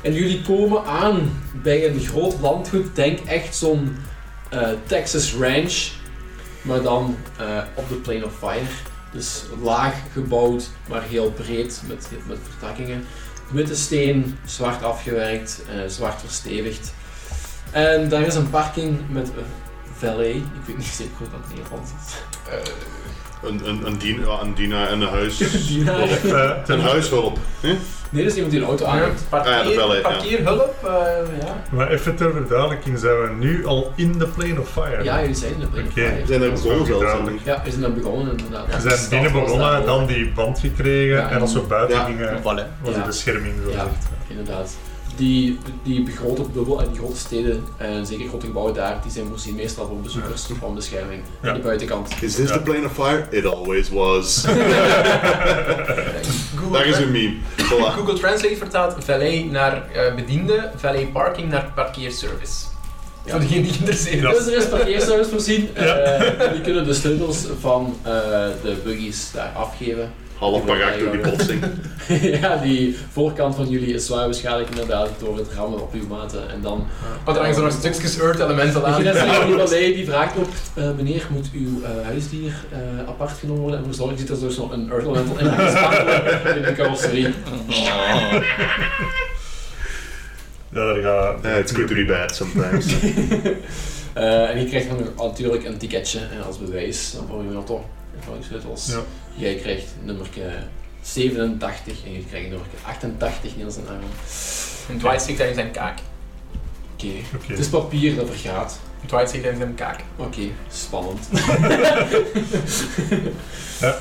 Speaker 1: En jullie komen aan bij een groot landgoed. Denk echt zo'n eh, Texas Ranch, maar dan eh, op de Plain of Fire. Dus laag gebouwd, maar heel breed met, met vertakkingen. Witte steen, zwart afgewerkt, eh, zwart verstevigd. En daar is een parking met eh, valet. Ik weet niet zeker hoe dat in Nederland is.
Speaker 3: Een, een, een, dien, ja, een dienaar en een huis...
Speaker 1: Dienaar.
Speaker 5: Eh,
Speaker 3: Een
Speaker 5: ten-
Speaker 3: huishulp. Hm?
Speaker 1: Nee, dat is iemand die een auto aanrijdt.
Speaker 3: Ah, ja, dat wel, hè,
Speaker 2: Parkeer,
Speaker 3: ja.
Speaker 2: parkeerhulp, eh, ja.
Speaker 5: maar even ter verduidelijking, zijn we nu al in de plane of fire?
Speaker 1: Ja, jullie zijn er.
Speaker 5: Oké.
Speaker 3: We zijn er begonnen zelfs.
Speaker 5: Ja.
Speaker 3: denk ik.
Speaker 1: Ja, we zijn daar begonnen inderdaad.
Speaker 5: We zijn binnen begonnen, dan die band gekregen
Speaker 1: Ja,
Speaker 5: en als we buiten
Speaker 3: ja.
Speaker 5: gingen,
Speaker 4: Voilà.
Speaker 5: was
Speaker 1: Ja.
Speaker 5: de bescherming zo
Speaker 1: Ja.
Speaker 5: gezegd.
Speaker 1: Inderdaad. die, die grote bubbel en die grote steden en zeker grote gebouwen daar, die zijn voorzien meestal voor bezoekers van bescherming
Speaker 5: Ja.
Speaker 1: aan de buitenkant.
Speaker 3: Is this the plane of fire? It always was.
Speaker 2: Google,
Speaker 3: Daar is
Speaker 2: Tra-
Speaker 3: een meme. Voilà.
Speaker 2: Google Translate vertaalt valet naar eh, bediende, valet parking naar parkeerservice.
Speaker 1: Ja.
Speaker 2: Voor degene die geïnteresseerd is.
Speaker 1: Dus er is parkeerservice voorzien.
Speaker 5: Ja.
Speaker 1: eh, die kunnen de sleutels van eh, de buggies daar afgeven.
Speaker 3: Half bagak door die botsing.
Speaker 1: ja, die voorkant van jullie is zwaar beschadigd inderdaad door het rammen op uw maten. En dan
Speaker 2: Want er hangen zo nog stukjes Earth Elemental
Speaker 1: Ik
Speaker 2: aan.
Speaker 1: vind dat zeggen, die valet die vraagt ook, eh, meneer, moet uw eh, huisdier eh, apart genomen worden? En voor zorg zit er dus nog een Earth Elemental in gestaan in de carrosserie.
Speaker 4: Oh.
Speaker 5: Ja, daar gaat...
Speaker 3: Eh, it's good to be bad sometimes.
Speaker 1: Eh, en je krijgt dan nog natuurlijk een ticketje eh, als bewijs dan voor uw auto. Ervaringssleutels.
Speaker 5: Ja.
Speaker 1: Jij krijgt nummer 87 en jullie krijgen nummer 88 Niels en Aaron.
Speaker 2: En Dwight steekt daar in zijn kaak.
Speaker 1: Oké.
Speaker 5: Oké.
Speaker 1: Het is papier dat vergaat.
Speaker 2: Dwight steekt daar in zijn kaak.
Speaker 1: Oké, spannend.
Speaker 5: Ja.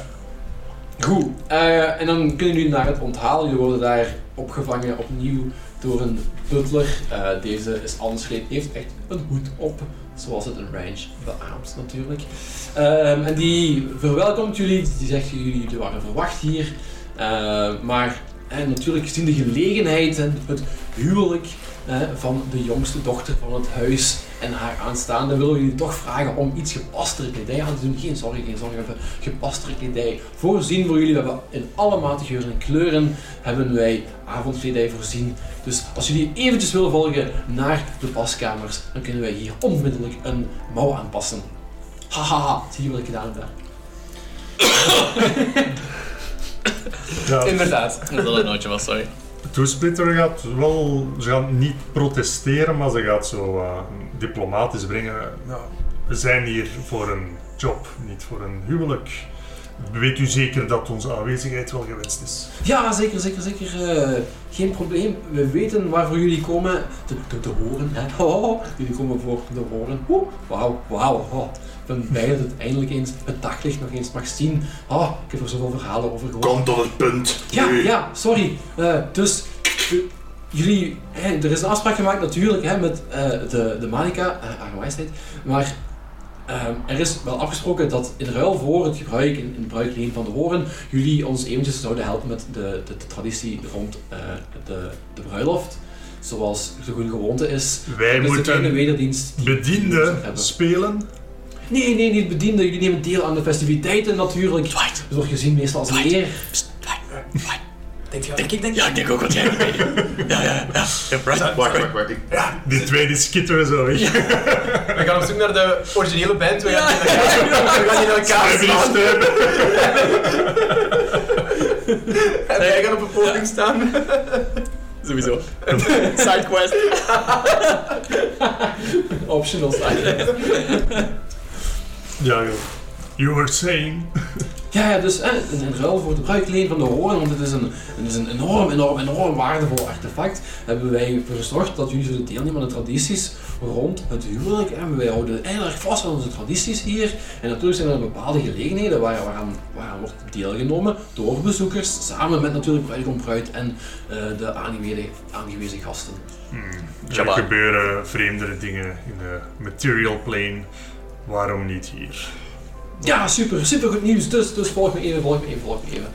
Speaker 1: Goed, eh, en dan kunnen jullie naar het onthaal. Jullie worden daar opgevangen opnieuw door een butler. Eh, deze is anders gekleed, heeft echt een hoed op, zoals het een ranch beaamt natuurlijk. Ehm, en die verwelkomt jullie, die zegt jullie, jullie waren verwacht hier. Eh, maar eh, natuurlijk gezien de gelegenheid en het huwelijk eh, van de jongste dochter van het huis en haar aanstaande willen we jullie toch vragen om iets gepastere kledij aan te doen. Geen zorgen, geen zorgen. We hebben gepastere kledij voorzien voor jullie. We hebben in alle maten, geuren en kleuren hebben wij avondkledij voorzien. Dus als jullie eventjes willen volgen naar de paskamers, dan kunnen wij hier onmiddellijk een mouw aanpassen. Hahaha, zie je wat ik gedaan heb daar?
Speaker 5: Ja,
Speaker 2: Inderdaad.
Speaker 4: Dat dat een nootje was, sorry.
Speaker 5: de toesplitter gaat wel... Ze gaat niet protesteren, maar ze gaat zo eh, diplomatisch brengen. Nou, we zijn hier voor een job, niet voor een huwelijk. Weet u zeker dat onze aanwezigheid wel gewenst is?
Speaker 1: Ja, zeker, zeker, zeker. eh, geen probleem. We weten waarvoor jullie komen. De, de, de horen, hè. Oh, oh, jullie komen voor de horen. Oeh, Wauw, wauw. Oh. Ik ben blij dat het eindelijk eens het daglicht nog eens mag zien. Oh, ik heb er zoveel verhalen over gehoord.
Speaker 6: Kom tot het punt.
Speaker 1: Ja,
Speaker 6: nu.
Speaker 1: ja, sorry. Eh, dus, eh, jullie, hè, er is een afspraak gemaakt natuurlijk hè, met eh, de, de Manica, eh haar wijsheid. Maar ehm, er is wel afgesproken dat in ruil voor het gebruik en in bruikleen van de horen, jullie ons eventjes zouden helpen met de, de, de traditie rond eh, de, de bruiloft. Zoals de goede gewoonte is.
Speaker 5: Wij
Speaker 1: Dus de kleine
Speaker 5: moeten
Speaker 1: wederdienst. die- die we
Speaker 5: bediende
Speaker 1: hebben.
Speaker 5: spelen.
Speaker 1: Nee, nee, niet bedienden. Jullie nemen deel aan de festiviteiten natuurlijk.
Speaker 4: Dwight.
Speaker 1: Dat wordt gezien meestal als een eer.
Speaker 4: Pst, Dwight, Dwight.
Speaker 2: Denk je wat ik denk?
Speaker 4: Ja, ik denk ook wat jij doet. Ja, ja, ja. Ja, right.
Speaker 3: Wacht, wacht, wacht. Ik-
Speaker 5: Die twee die schitteren zo weg.
Speaker 2: We gaan op zoek naar de originele band. We gaan die in elkaar, we gaan die in elkaar slaan. En wij gaan op een poging staan.
Speaker 4: Sowieso. Sidequest.
Speaker 1: Optional side.
Speaker 5: Ja, joh. You were saying.
Speaker 1: Ja, ja, dus hè, in, in ruil voor de bruikleen van de hoorn, want het is, een, het is een enorm, enorm, enorm waardevol artefact, hebben wij ervoor gezorgd dat jullie zullen deelnemen aan de tradities rond het huwelijk. En wij houden heel erg vast aan onze tradities hier. En natuurlijk zijn er bepaalde gelegenheden waar, waaraan, waaraan wordt deelgenomen door bezoekers, samen met natuurlijk bruidegom bruid en eh, de aangewezen, aangewezen gasten.
Speaker 5: Er gebeuren vreemdere dingen in de material plane. Waarom niet hier?
Speaker 1: Ja, super, super goed nieuws. Dus, dus volg me even, volg me even, volg me even.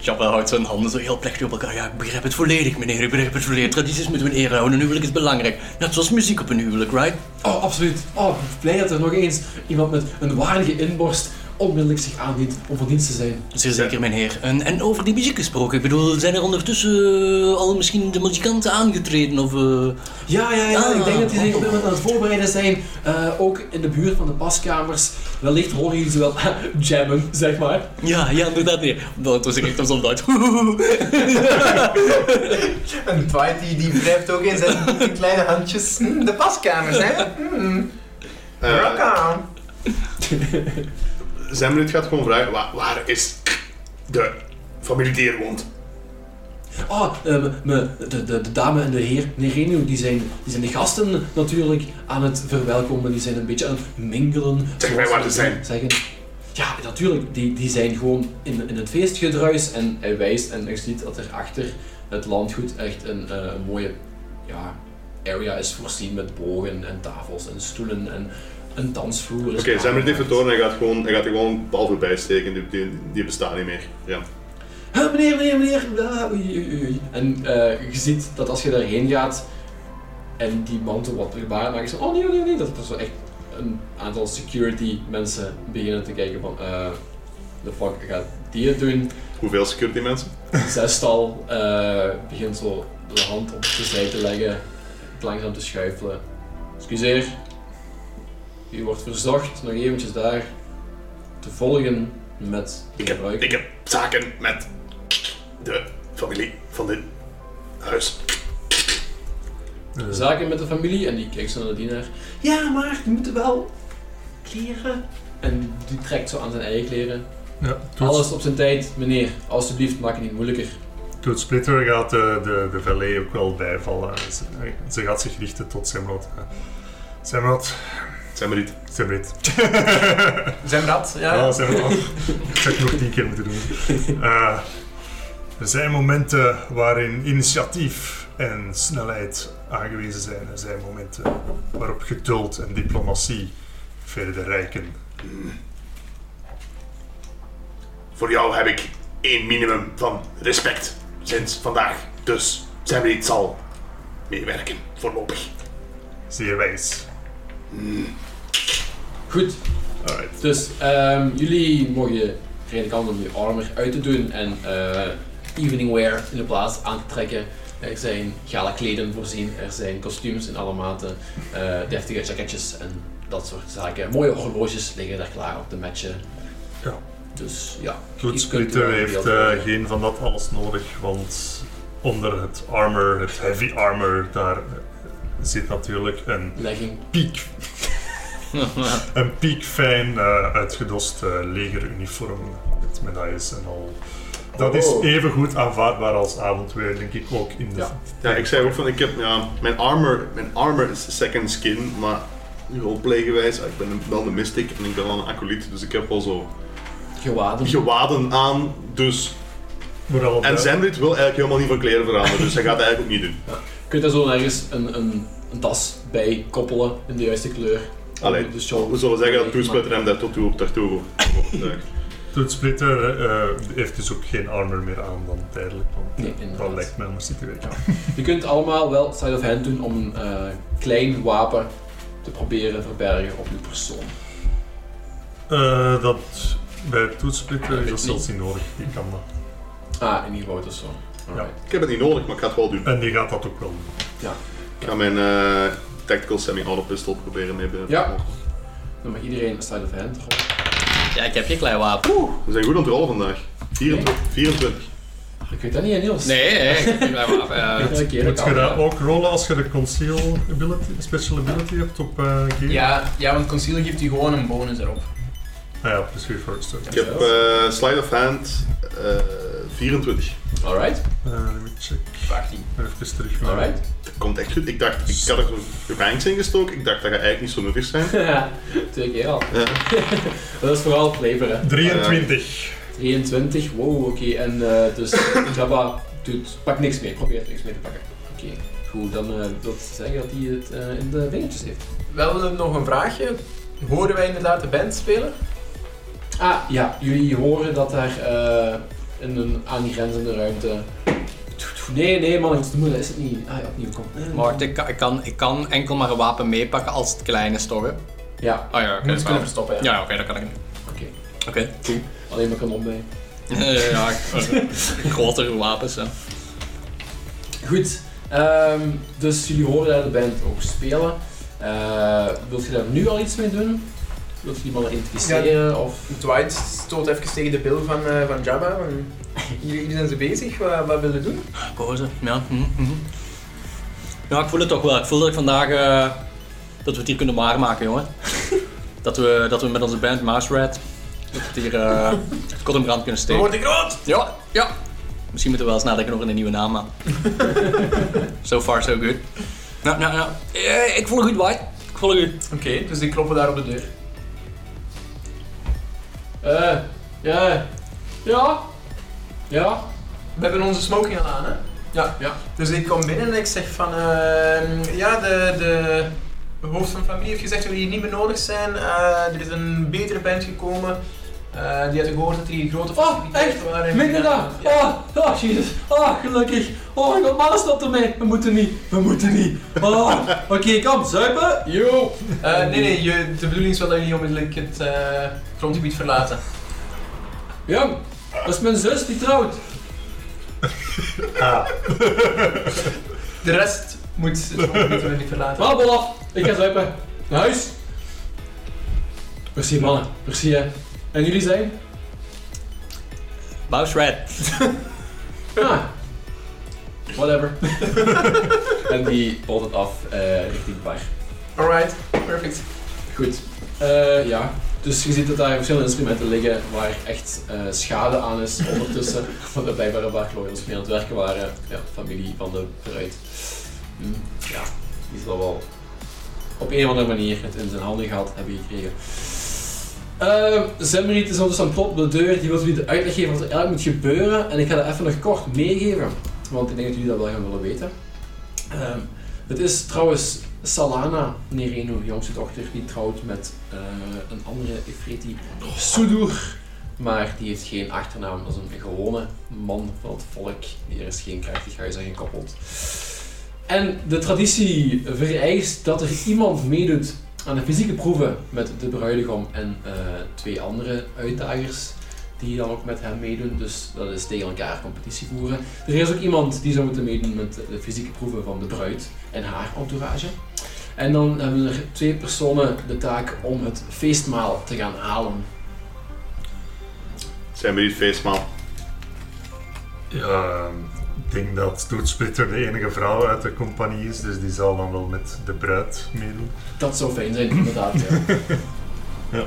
Speaker 4: Jabba houdt zijn handen zo heel plechtig op elkaar. Ja, ik begrijp het volledig, meneer. Ik begrijp het volledig. Tradities moeten we in ere houden. Een huwelijk is belangrijk. Net zoals muziek op een huwelijk, right?
Speaker 1: Oh, absoluut. Oh, blij dat er nog eens iemand met een waardige inborst onmiddellijk zich aandient om van dienst te zijn.
Speaker 4: Zeer zeker, meneer. En, en over die muziek gesproken. Ik bedoel, zijn er ondertussen eh, al misschien de muzikanten aangetreden? Of, eh,
Speaker 1: Ja, ja, ja.
Speaker 4: Ah,
Speaker 1: ik denk dat die zich op dit
Speaker 4: oh.
Speaker 1: moment aan het voorbereiden zijn. Eh, ook in de buurt van de paskamers. Wellicht horen jullie ze wel jammen, zeg maar.
Speaker 4: Ja, ja, inderdaad, meneer. Dat was echt op zo'n Duits.
Speaker 2: En Dwight die, die wrijft ook in zijn kleine handjes Hm, de paskamers, hè? Hmm,
Speaker 3: Eh,
Speaker 2: rock on.
Speaker 3: Zemrit Eh, gaat gewoon vragen, waar, waar is de familie die hier woont?
Speaker 1: Oh, eh, me- me- de, de, de dame en de heer Nerenu, die zijn, die zijn de gasten natuurlijk aan het verwelkomen. Die zijn een beetje aan het mingelen.
Speaker 3: Zeg mij waar ze zijn.
Speaker 1: Zeggen. Ja, natuurlijk. Die, die zijn gewoon in, in het feestgedruis. En hij wijst en je ziet dat er achter het landgoed echt een eh, mooie ja, area is voorzien met bogen en tafels en stoelen en een dansvloer. is
Speaker 3: Oké,
Speaker 6: Dus-
Speaker 3: zijn we dit
Speaker 1: aangemaakt.
Speaker 3: vertonen? Hij gaat, gewoon, hij gaat er gewoon een bal voorbij steken. Die, die, die bestaan niet meer. Ja.
Speaker 1: Huh, meneer, meneer, meneer. bla, oei, oei, oei. En eh, je ziet dat als je daarheen gaat en die mantel wat gebaar maakt, zo, oh nee, oh nee, oh nee, dat er zo echt een aantal security mensen beginnen te kijken van, eh, de fuck gaat die het doen?
Speaker 3: Hoeveel security mensen?
Speaker 1: Een zestal eh, begint zo de hand op de zij te leggen, het langzaam te schuifelen. Excuseer, u wordt verzocht nog eventjes daar te volgen met
Speaker 6: Ik heb,
Speaker 1: gebruik.
Speaker 6: ik heb zaken met de familie van dit huis.
Speaker 1: zaken met de familie en die kijkt zo naar de dienaar. Ja, maar die moeten wel kleren. En die trekt zo aan zijn eigen kleren.
Speaker 5: Ja,
Speaker 1: Alles op zijn tijd, meneer. Alsjeblieft, maak het niet moeilijker.
Speaker 5: Toet Splitter gaat de, de, de valet ook wel bijvallen. Ze, ze gaat zich richten tot Semrod. Semrod,
Speaker 3: Zijn we niet?
Speaker 5: Semrit.
Speaker 2: Zemrad, ja.
Speaker 5: Ja, Semrod. Ik zou het nog tien keer moeten doen. Eh, er zijn momenten waarin initiatief en snelheid aangewezen zijn. Er zijn momenten waarop geduld en diplomatie verder reiken.
Speaker 6: Voor jou heb ik één minimum van respect sinds vandaag. Dus Sammy zal meewerken voorlopig.
Speaker 5: Zeer wijs.
Speaker 1: Goed,
Speaker 5: Alright.
Speaker 1: dus ehm, jullie mogen redelijk aan om je armor uit te doen en eh evening wear in de plaats aan te trekken. Er zijn gala kleden voorzien, er zijn kostuums in alle maten, eh, deftige jacketjes en dat soort zaken. Mooie horloges liggen daar klaar op te matchen.
Speaker 5: Ja.
Speaker 1: Dus ja.
Speaker 5: Toet
Speaker 1: iets kunt u
Speaker 5: Splitter
Speaker 1: wel
Speaker 5: heeft
Speaker 1: beeld-
Speaker 5: eh, geen van dat alles nodig, want onder het armor, het heavy armor, daar eh, zit natuurlijk een
Speaker 1: legging.
Speaker 5: piek, een piekfijn eh, uitgedost eh, legeruniform met medailles en al. Dat is
Speaker 1: Oh.
Speaker 5: even goed aanvaardbaar als avondweer, denk ik ook in de.
Speaker 1: Ja.
Speaker 3: Ja, ik zei ook van, ik heb, ja, mijn armor, mijn armor is second skin, maar roleplaygewijs, ik ben een- wel een mystic en ik ben wel een acolyte, dus ik heb wel zo
Speaker 1: Gewaden.
Speaker 3: gewaden aan, dus...
Speaker 5: Vooral
Speaker 3: En
Speaker 5: de-
Speaker 3: Zendrit wil eigenlijk helemaal niet van kleren veranderen, dus hij gaat het eigenlijk ook niet doen.
Speaker 1: Je kunt daar zo ergens een, een, een tas bij koppelen in de juiste kleur. Dus
Speaker 3: Allee,
Speaker 1: Om de show-
Speaker 3: we zullen zeggen dat Toesplitter hem daar tot toe op daartoe over overtuigt.
Speaker 5: Toet Splitter eh, heeft dus ook geen armor meer aan dan tijdelijk, want
Speaker 1: Nee,
Speaker 5: eh,
Speaker 1: inderdaad.
Speaker 5: dat lijkt mij anders niet te werken.
Speaker 1: Je kunt allemaal wel side of hand doen om een eh, klein wapen te proberen verbergen op je persoon.
Speaker 5: Eh, dat bij Toetsplitter is
Speaker 1: weet
Speaker 5: dat
Speaker 1: ik
Speaker 5: zelfs niet nodig, die kan dat.
Speaker 1: Ah, in die rood of zo. Alright.
Speaker 3: Ik heb het niet nodig, maar ik ga het wel doen.
Speaker 5: En die gaat dat ook wel doen.
Speaker 3: Ik ga mijn eh, tactical semi-auto pistol proberen mee binnen te
Speaker 1: Ja.
Speaker 3: halen.
Speaker 1: Dan mag Nou, iedereen een side of hand rollen.
Speaker 4: Ja, ik heb geen klein wapen.
Speaker 3: We zijn goed aan het rollen vandaag. 24. 24.
Speaker 1: Ik weet dat niet, hè, Niels.
Speaker 4: Nee, nee, ik heb geen klein wapen. ja.
Speaker 1: Iedere keer
Speaker 5: Moet je
Speaker 1: elkaar,
Speaker 5: dat
Speaker 1: ja.
Speaker 5: ook rollen als je de conceal ability, special ability hebt op eh gear?
Speaker 2: Ja, ja, want Concealer geeft u gewoon een bonus erop.
Speaker 5: Ah ja, plus 4 first.
Speaker 3: Ik heb eh slide of hand eh, 24.
Speaker 1: Alright,
Speaker 5: Eh, Let me check.
Speaker 2: Wacht die.
Speaker 5: Even terug naar.
Speaker 1: alright.
Speaker 3: Dat komt echt goed. Ik dacht, ik had er zo'n ranks in gestoken. Ik dacht, dat gaat eigenlijk niet zo nuttig zijn.
Speaker 1: Twee keer al.
Speaker 3: Ja.
Speaker 1: Dat is vooral flavor, hè.
Speaker 5: 23.
Speaker 1: 23, wow, oké. En eh, dus Jabba doet, pakt niks meer, probeert niks meer te pakken. Oké, goed, dan eh, wil dat zeggen dat hij het eh, in de vingertjes heeft.
Speaker 2: Wel eh, nog een vraagje. Horen wij inderdaad de band spelen?
Speaker 1: Ah ja, jullie horen dat daar eh, in een aangrenzende ruimte. Nee, nee, man, het is te moeilijk, is het niet. Ah ja, opnieuw, kom.
Speaker 4: Wacht, ik kan, ik, kan, ik kan enkel maar een wapen meepakken als het klein is, toch? hè?
Speaker 1: Ja,
Speaker 4: Oh ja, oké.
Speaker 2: Moet je kunnen
Speaker 4: wel.
Speaker 2: verstoppen, ja.
Speaker 4: ja, oké, dat kan ik niet.
Speaker 1: oké.
Speaker 4: Oké.
Speaker 1: Alleen maar kanon bij.
Speaker 4: ja, ik- grotere wapens, hè.
Speaker 1: Goed, ehm, dus jullie horen daar de band ook spelen. Eh, wilt je daar nu al iets mee doen? Wilt je die mannen identificeren? Of...
Speaker 2: Dwight stoot even tegen de bil van, eh, van Jabba. van, Jullie, jullie zijn ze bezig, wat, wat willen doen?
Speaker 4: Boze, ja. mhm, mhm. Ja, ik voel het toch wel. Ik voel dat ik vandaag... eh, dat we het hier kunnen waarmaken, jongen. dat, we, dat we met onze band Mouse Rat... Dat we het hier eh kot in brand kunnen
Speaker 2: We
Speaker 4: steken.
Speaker 2: worden groot!
Speaker 4: Ja, ja. Misschien moeten we wel eens nadenken over een nieuwe naam, man. so far, so good. Nou, nou, nou. Eh, Ik voel het goed, White. Ik voel het goed.
Speaker 2: Oké, dus die kloppen daar op de deur.
Speaker 1: Eh, ja, ja, ja.
Speaker 2: We hebben onze smoking al aan, hè? Ja, ja. Dus ik kom binnen en ik zeg van, ehm, ja, de, de hoofd van de familie heeft gezegd dat jullie hier niet meer nodig zijn. Eh, er is een betere band gekomen. Eh, die had gehoord dat er hier grote
Speaker 1: Oh, echt?
Speaker 2: waren.
Speaker 1: Minder dan!
Speaker 2: Ja.
Speaker 1: Oh, oh, jezus. Oh, gelukkig. Oh, mijn god, mannen, stop ermee. We moeten niet. We moeten niet. Oh, oké, kom, zuipen. Yo.
Speaker 2: Eh, nee, nee, je, de bedoeling is wel dat jullie onmiddellijk het eh, grondgebied verlaten.
Speaker 1: Jong, dat is mijn zus die trouwt.
Speaker 2: De rest moet het grondgebied onmiddellijk verlaten.
Speaker 1: Wel, bol af. Ik ga zuipen. Naar huis. Merci, mannen. Merci, hè. En jullie zijn?
Speaker 4: Bows Red.
Speaker 1: Ah. Whatever. en die polt het af eh, richting bar.
Speaker 2: Alright, perfect.
Speaker 1: Goed. Eh, ja. Dus je ziet dat daar verschillende instrumenten liggen waar echt eh, schade aan is ondertussen. Want er blijkbaar een paar klooiers mee aan het werken waren. Ja, familie van de bruid. Hm, ja, die zal wel op een of andere manier het in zijn handen gehad hebben gekregen. Uh, Zemrit is ondertussen aan het kloppen op de deur. Die wil jullie de uitleg geven wat er eigenlijk moet gebeuren. En ik ga dat even nog kort meegeven. Want ik denk dat jullie dat wel gaan willen weten. Ehm, het is trouwens Salana Nereno, jongste dochter, die trouwt met eh, een andere Efreti, Sudur. Maar die heeft geen achternaam, dat is een gewone man van het volk. Er is geen krachtig huis aan gekoppeld. En de traditie vereist dat er iemand meedoet aan de fysieke proeven met de bruidegom en eh, twee andere uitdagers. Die dan ook met hem meedoen, dus dat is tegen elkaar competitie voeren. Er is ook iemand die zou moeten meedoen met de fysieke proeven van de bruid en haar entourage. En dan hebben er twee personen de taak om het feestmaal te gaan halen.
Speaker 3: Zijn we niet feestmaal?
Speaker 5: Ja, ik denk dat Toetsplitter de enige vrouw uit de compagnie is, dus die zal dan wel met de bruid meedoen.
Speaker 1: Dat zou fijn zijn, inderdaad. ja.
Speaker 5: Ja.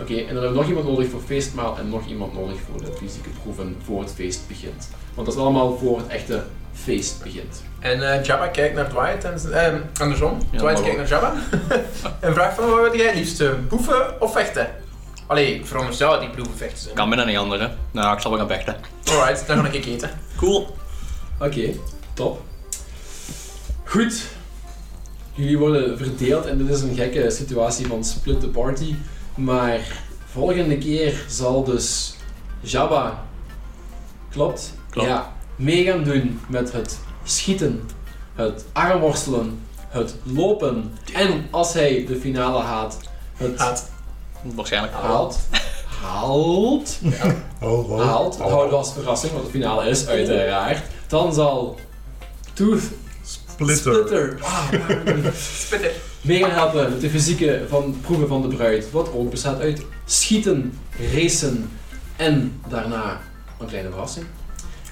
Speaker 1: Oké, en dan hebben we nog iemand nodig voor feestmaal en nog iemand nodig voor de fysieke proeven voor het feest begint. Want dat is allemaal voor het echte feest begint.
Speaker 2: En eh, Jabba kijkt naar Dwight en eh, andersom.
Speaker 1: Ja,
Speaker 2: Dwight
Speaker 1: maar
Speaker 2: kijkt naar Jabba en vraagt van wat wil jij het liefst, eh, boeven of vechten? Allee, ik veronderstel dat die boeven vechten zijn.
Speaker 4: Kan bijna niet anders, hè. Nou, ik zal wel gaan vechten.
Speaker 2: Alright, dan ga ik eten.
Speaker 4: Cool.
Speaker 1: Oké, top. Goed. Jullie worden verdeeld en dit is een gekke situatie van split the party. Maar volgende keer zal dus Jabba, klopt?
Speaker 4: Klopt.
Speaker 1: Ja, mee gaan doen met het schieten, het armworstelen, het lopen en als hij de finale haat, het
Speaker 2: Haat.
Speaker 4: Waarschijnlijk.
Speaker 1: haalt. Haalt
Speaker 5: Oh, wow.
Speaker 1: haalt, dat houden we als verrassing, want de finale is uiteraard, dan zal Tooth
Speaker 5: Splitter.
Speaker 1: Splitter
Speaker 2: Spitter.
Speaker 1: mee gaan helpen met de fysieke van, proeven van de bruid, wat ook bestaat uit schieten, racen en daarna een kleine verrassing.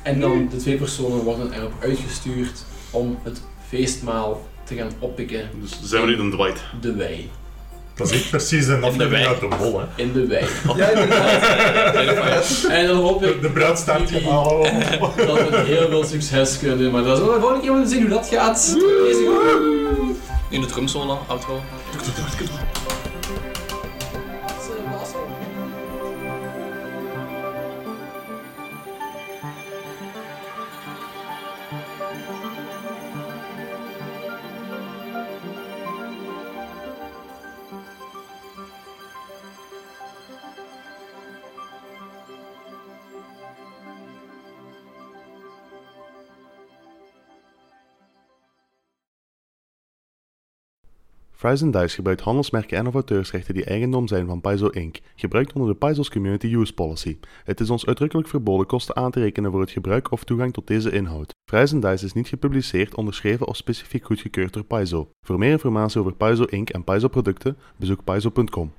Speaker 1: En dan de twee personen worden erop uitgestuurd om het feestmaal te gaan oppikken,
Speaker 3: Dus zijn we niet een Dwight?
Speaker 1: de wei.
Speaker 5: Dat is echt precies een aflevering
Speaker 4: wijk.
Speaker 5: uit de mol, hè.
Speaker 1: In de wei.
Speaker 2: Ja, inderdaad.
Speaker 1: En dan hoop ik
Speaker 5: De bruid staat hier. hallo.
Speaker 1: dat we heel veel succes kunnen doen, maar dat is wel de volgende keer moeten zien hoe dat gaat. Deze groep.
Speaker 4: In de drumsolo, outro.
Speaker 3: Fries and Dice gebruikt handelsmerken en of auteursrechten die eigendom zijn van Paizo Inc., gebruikt onder de Paizo's Community Use Policy. Het is ons uitdrukkelijk verboden kosten aan te rekenen voor het gebruik of toegang tot deze inhoud. Fries and Dice is niet gepubliceerd, onderschreven of specifiek goedgekeurd door Paizo. Voor meer informatie over Paizo Inc. en Paizo producten, bezoek paizo.com.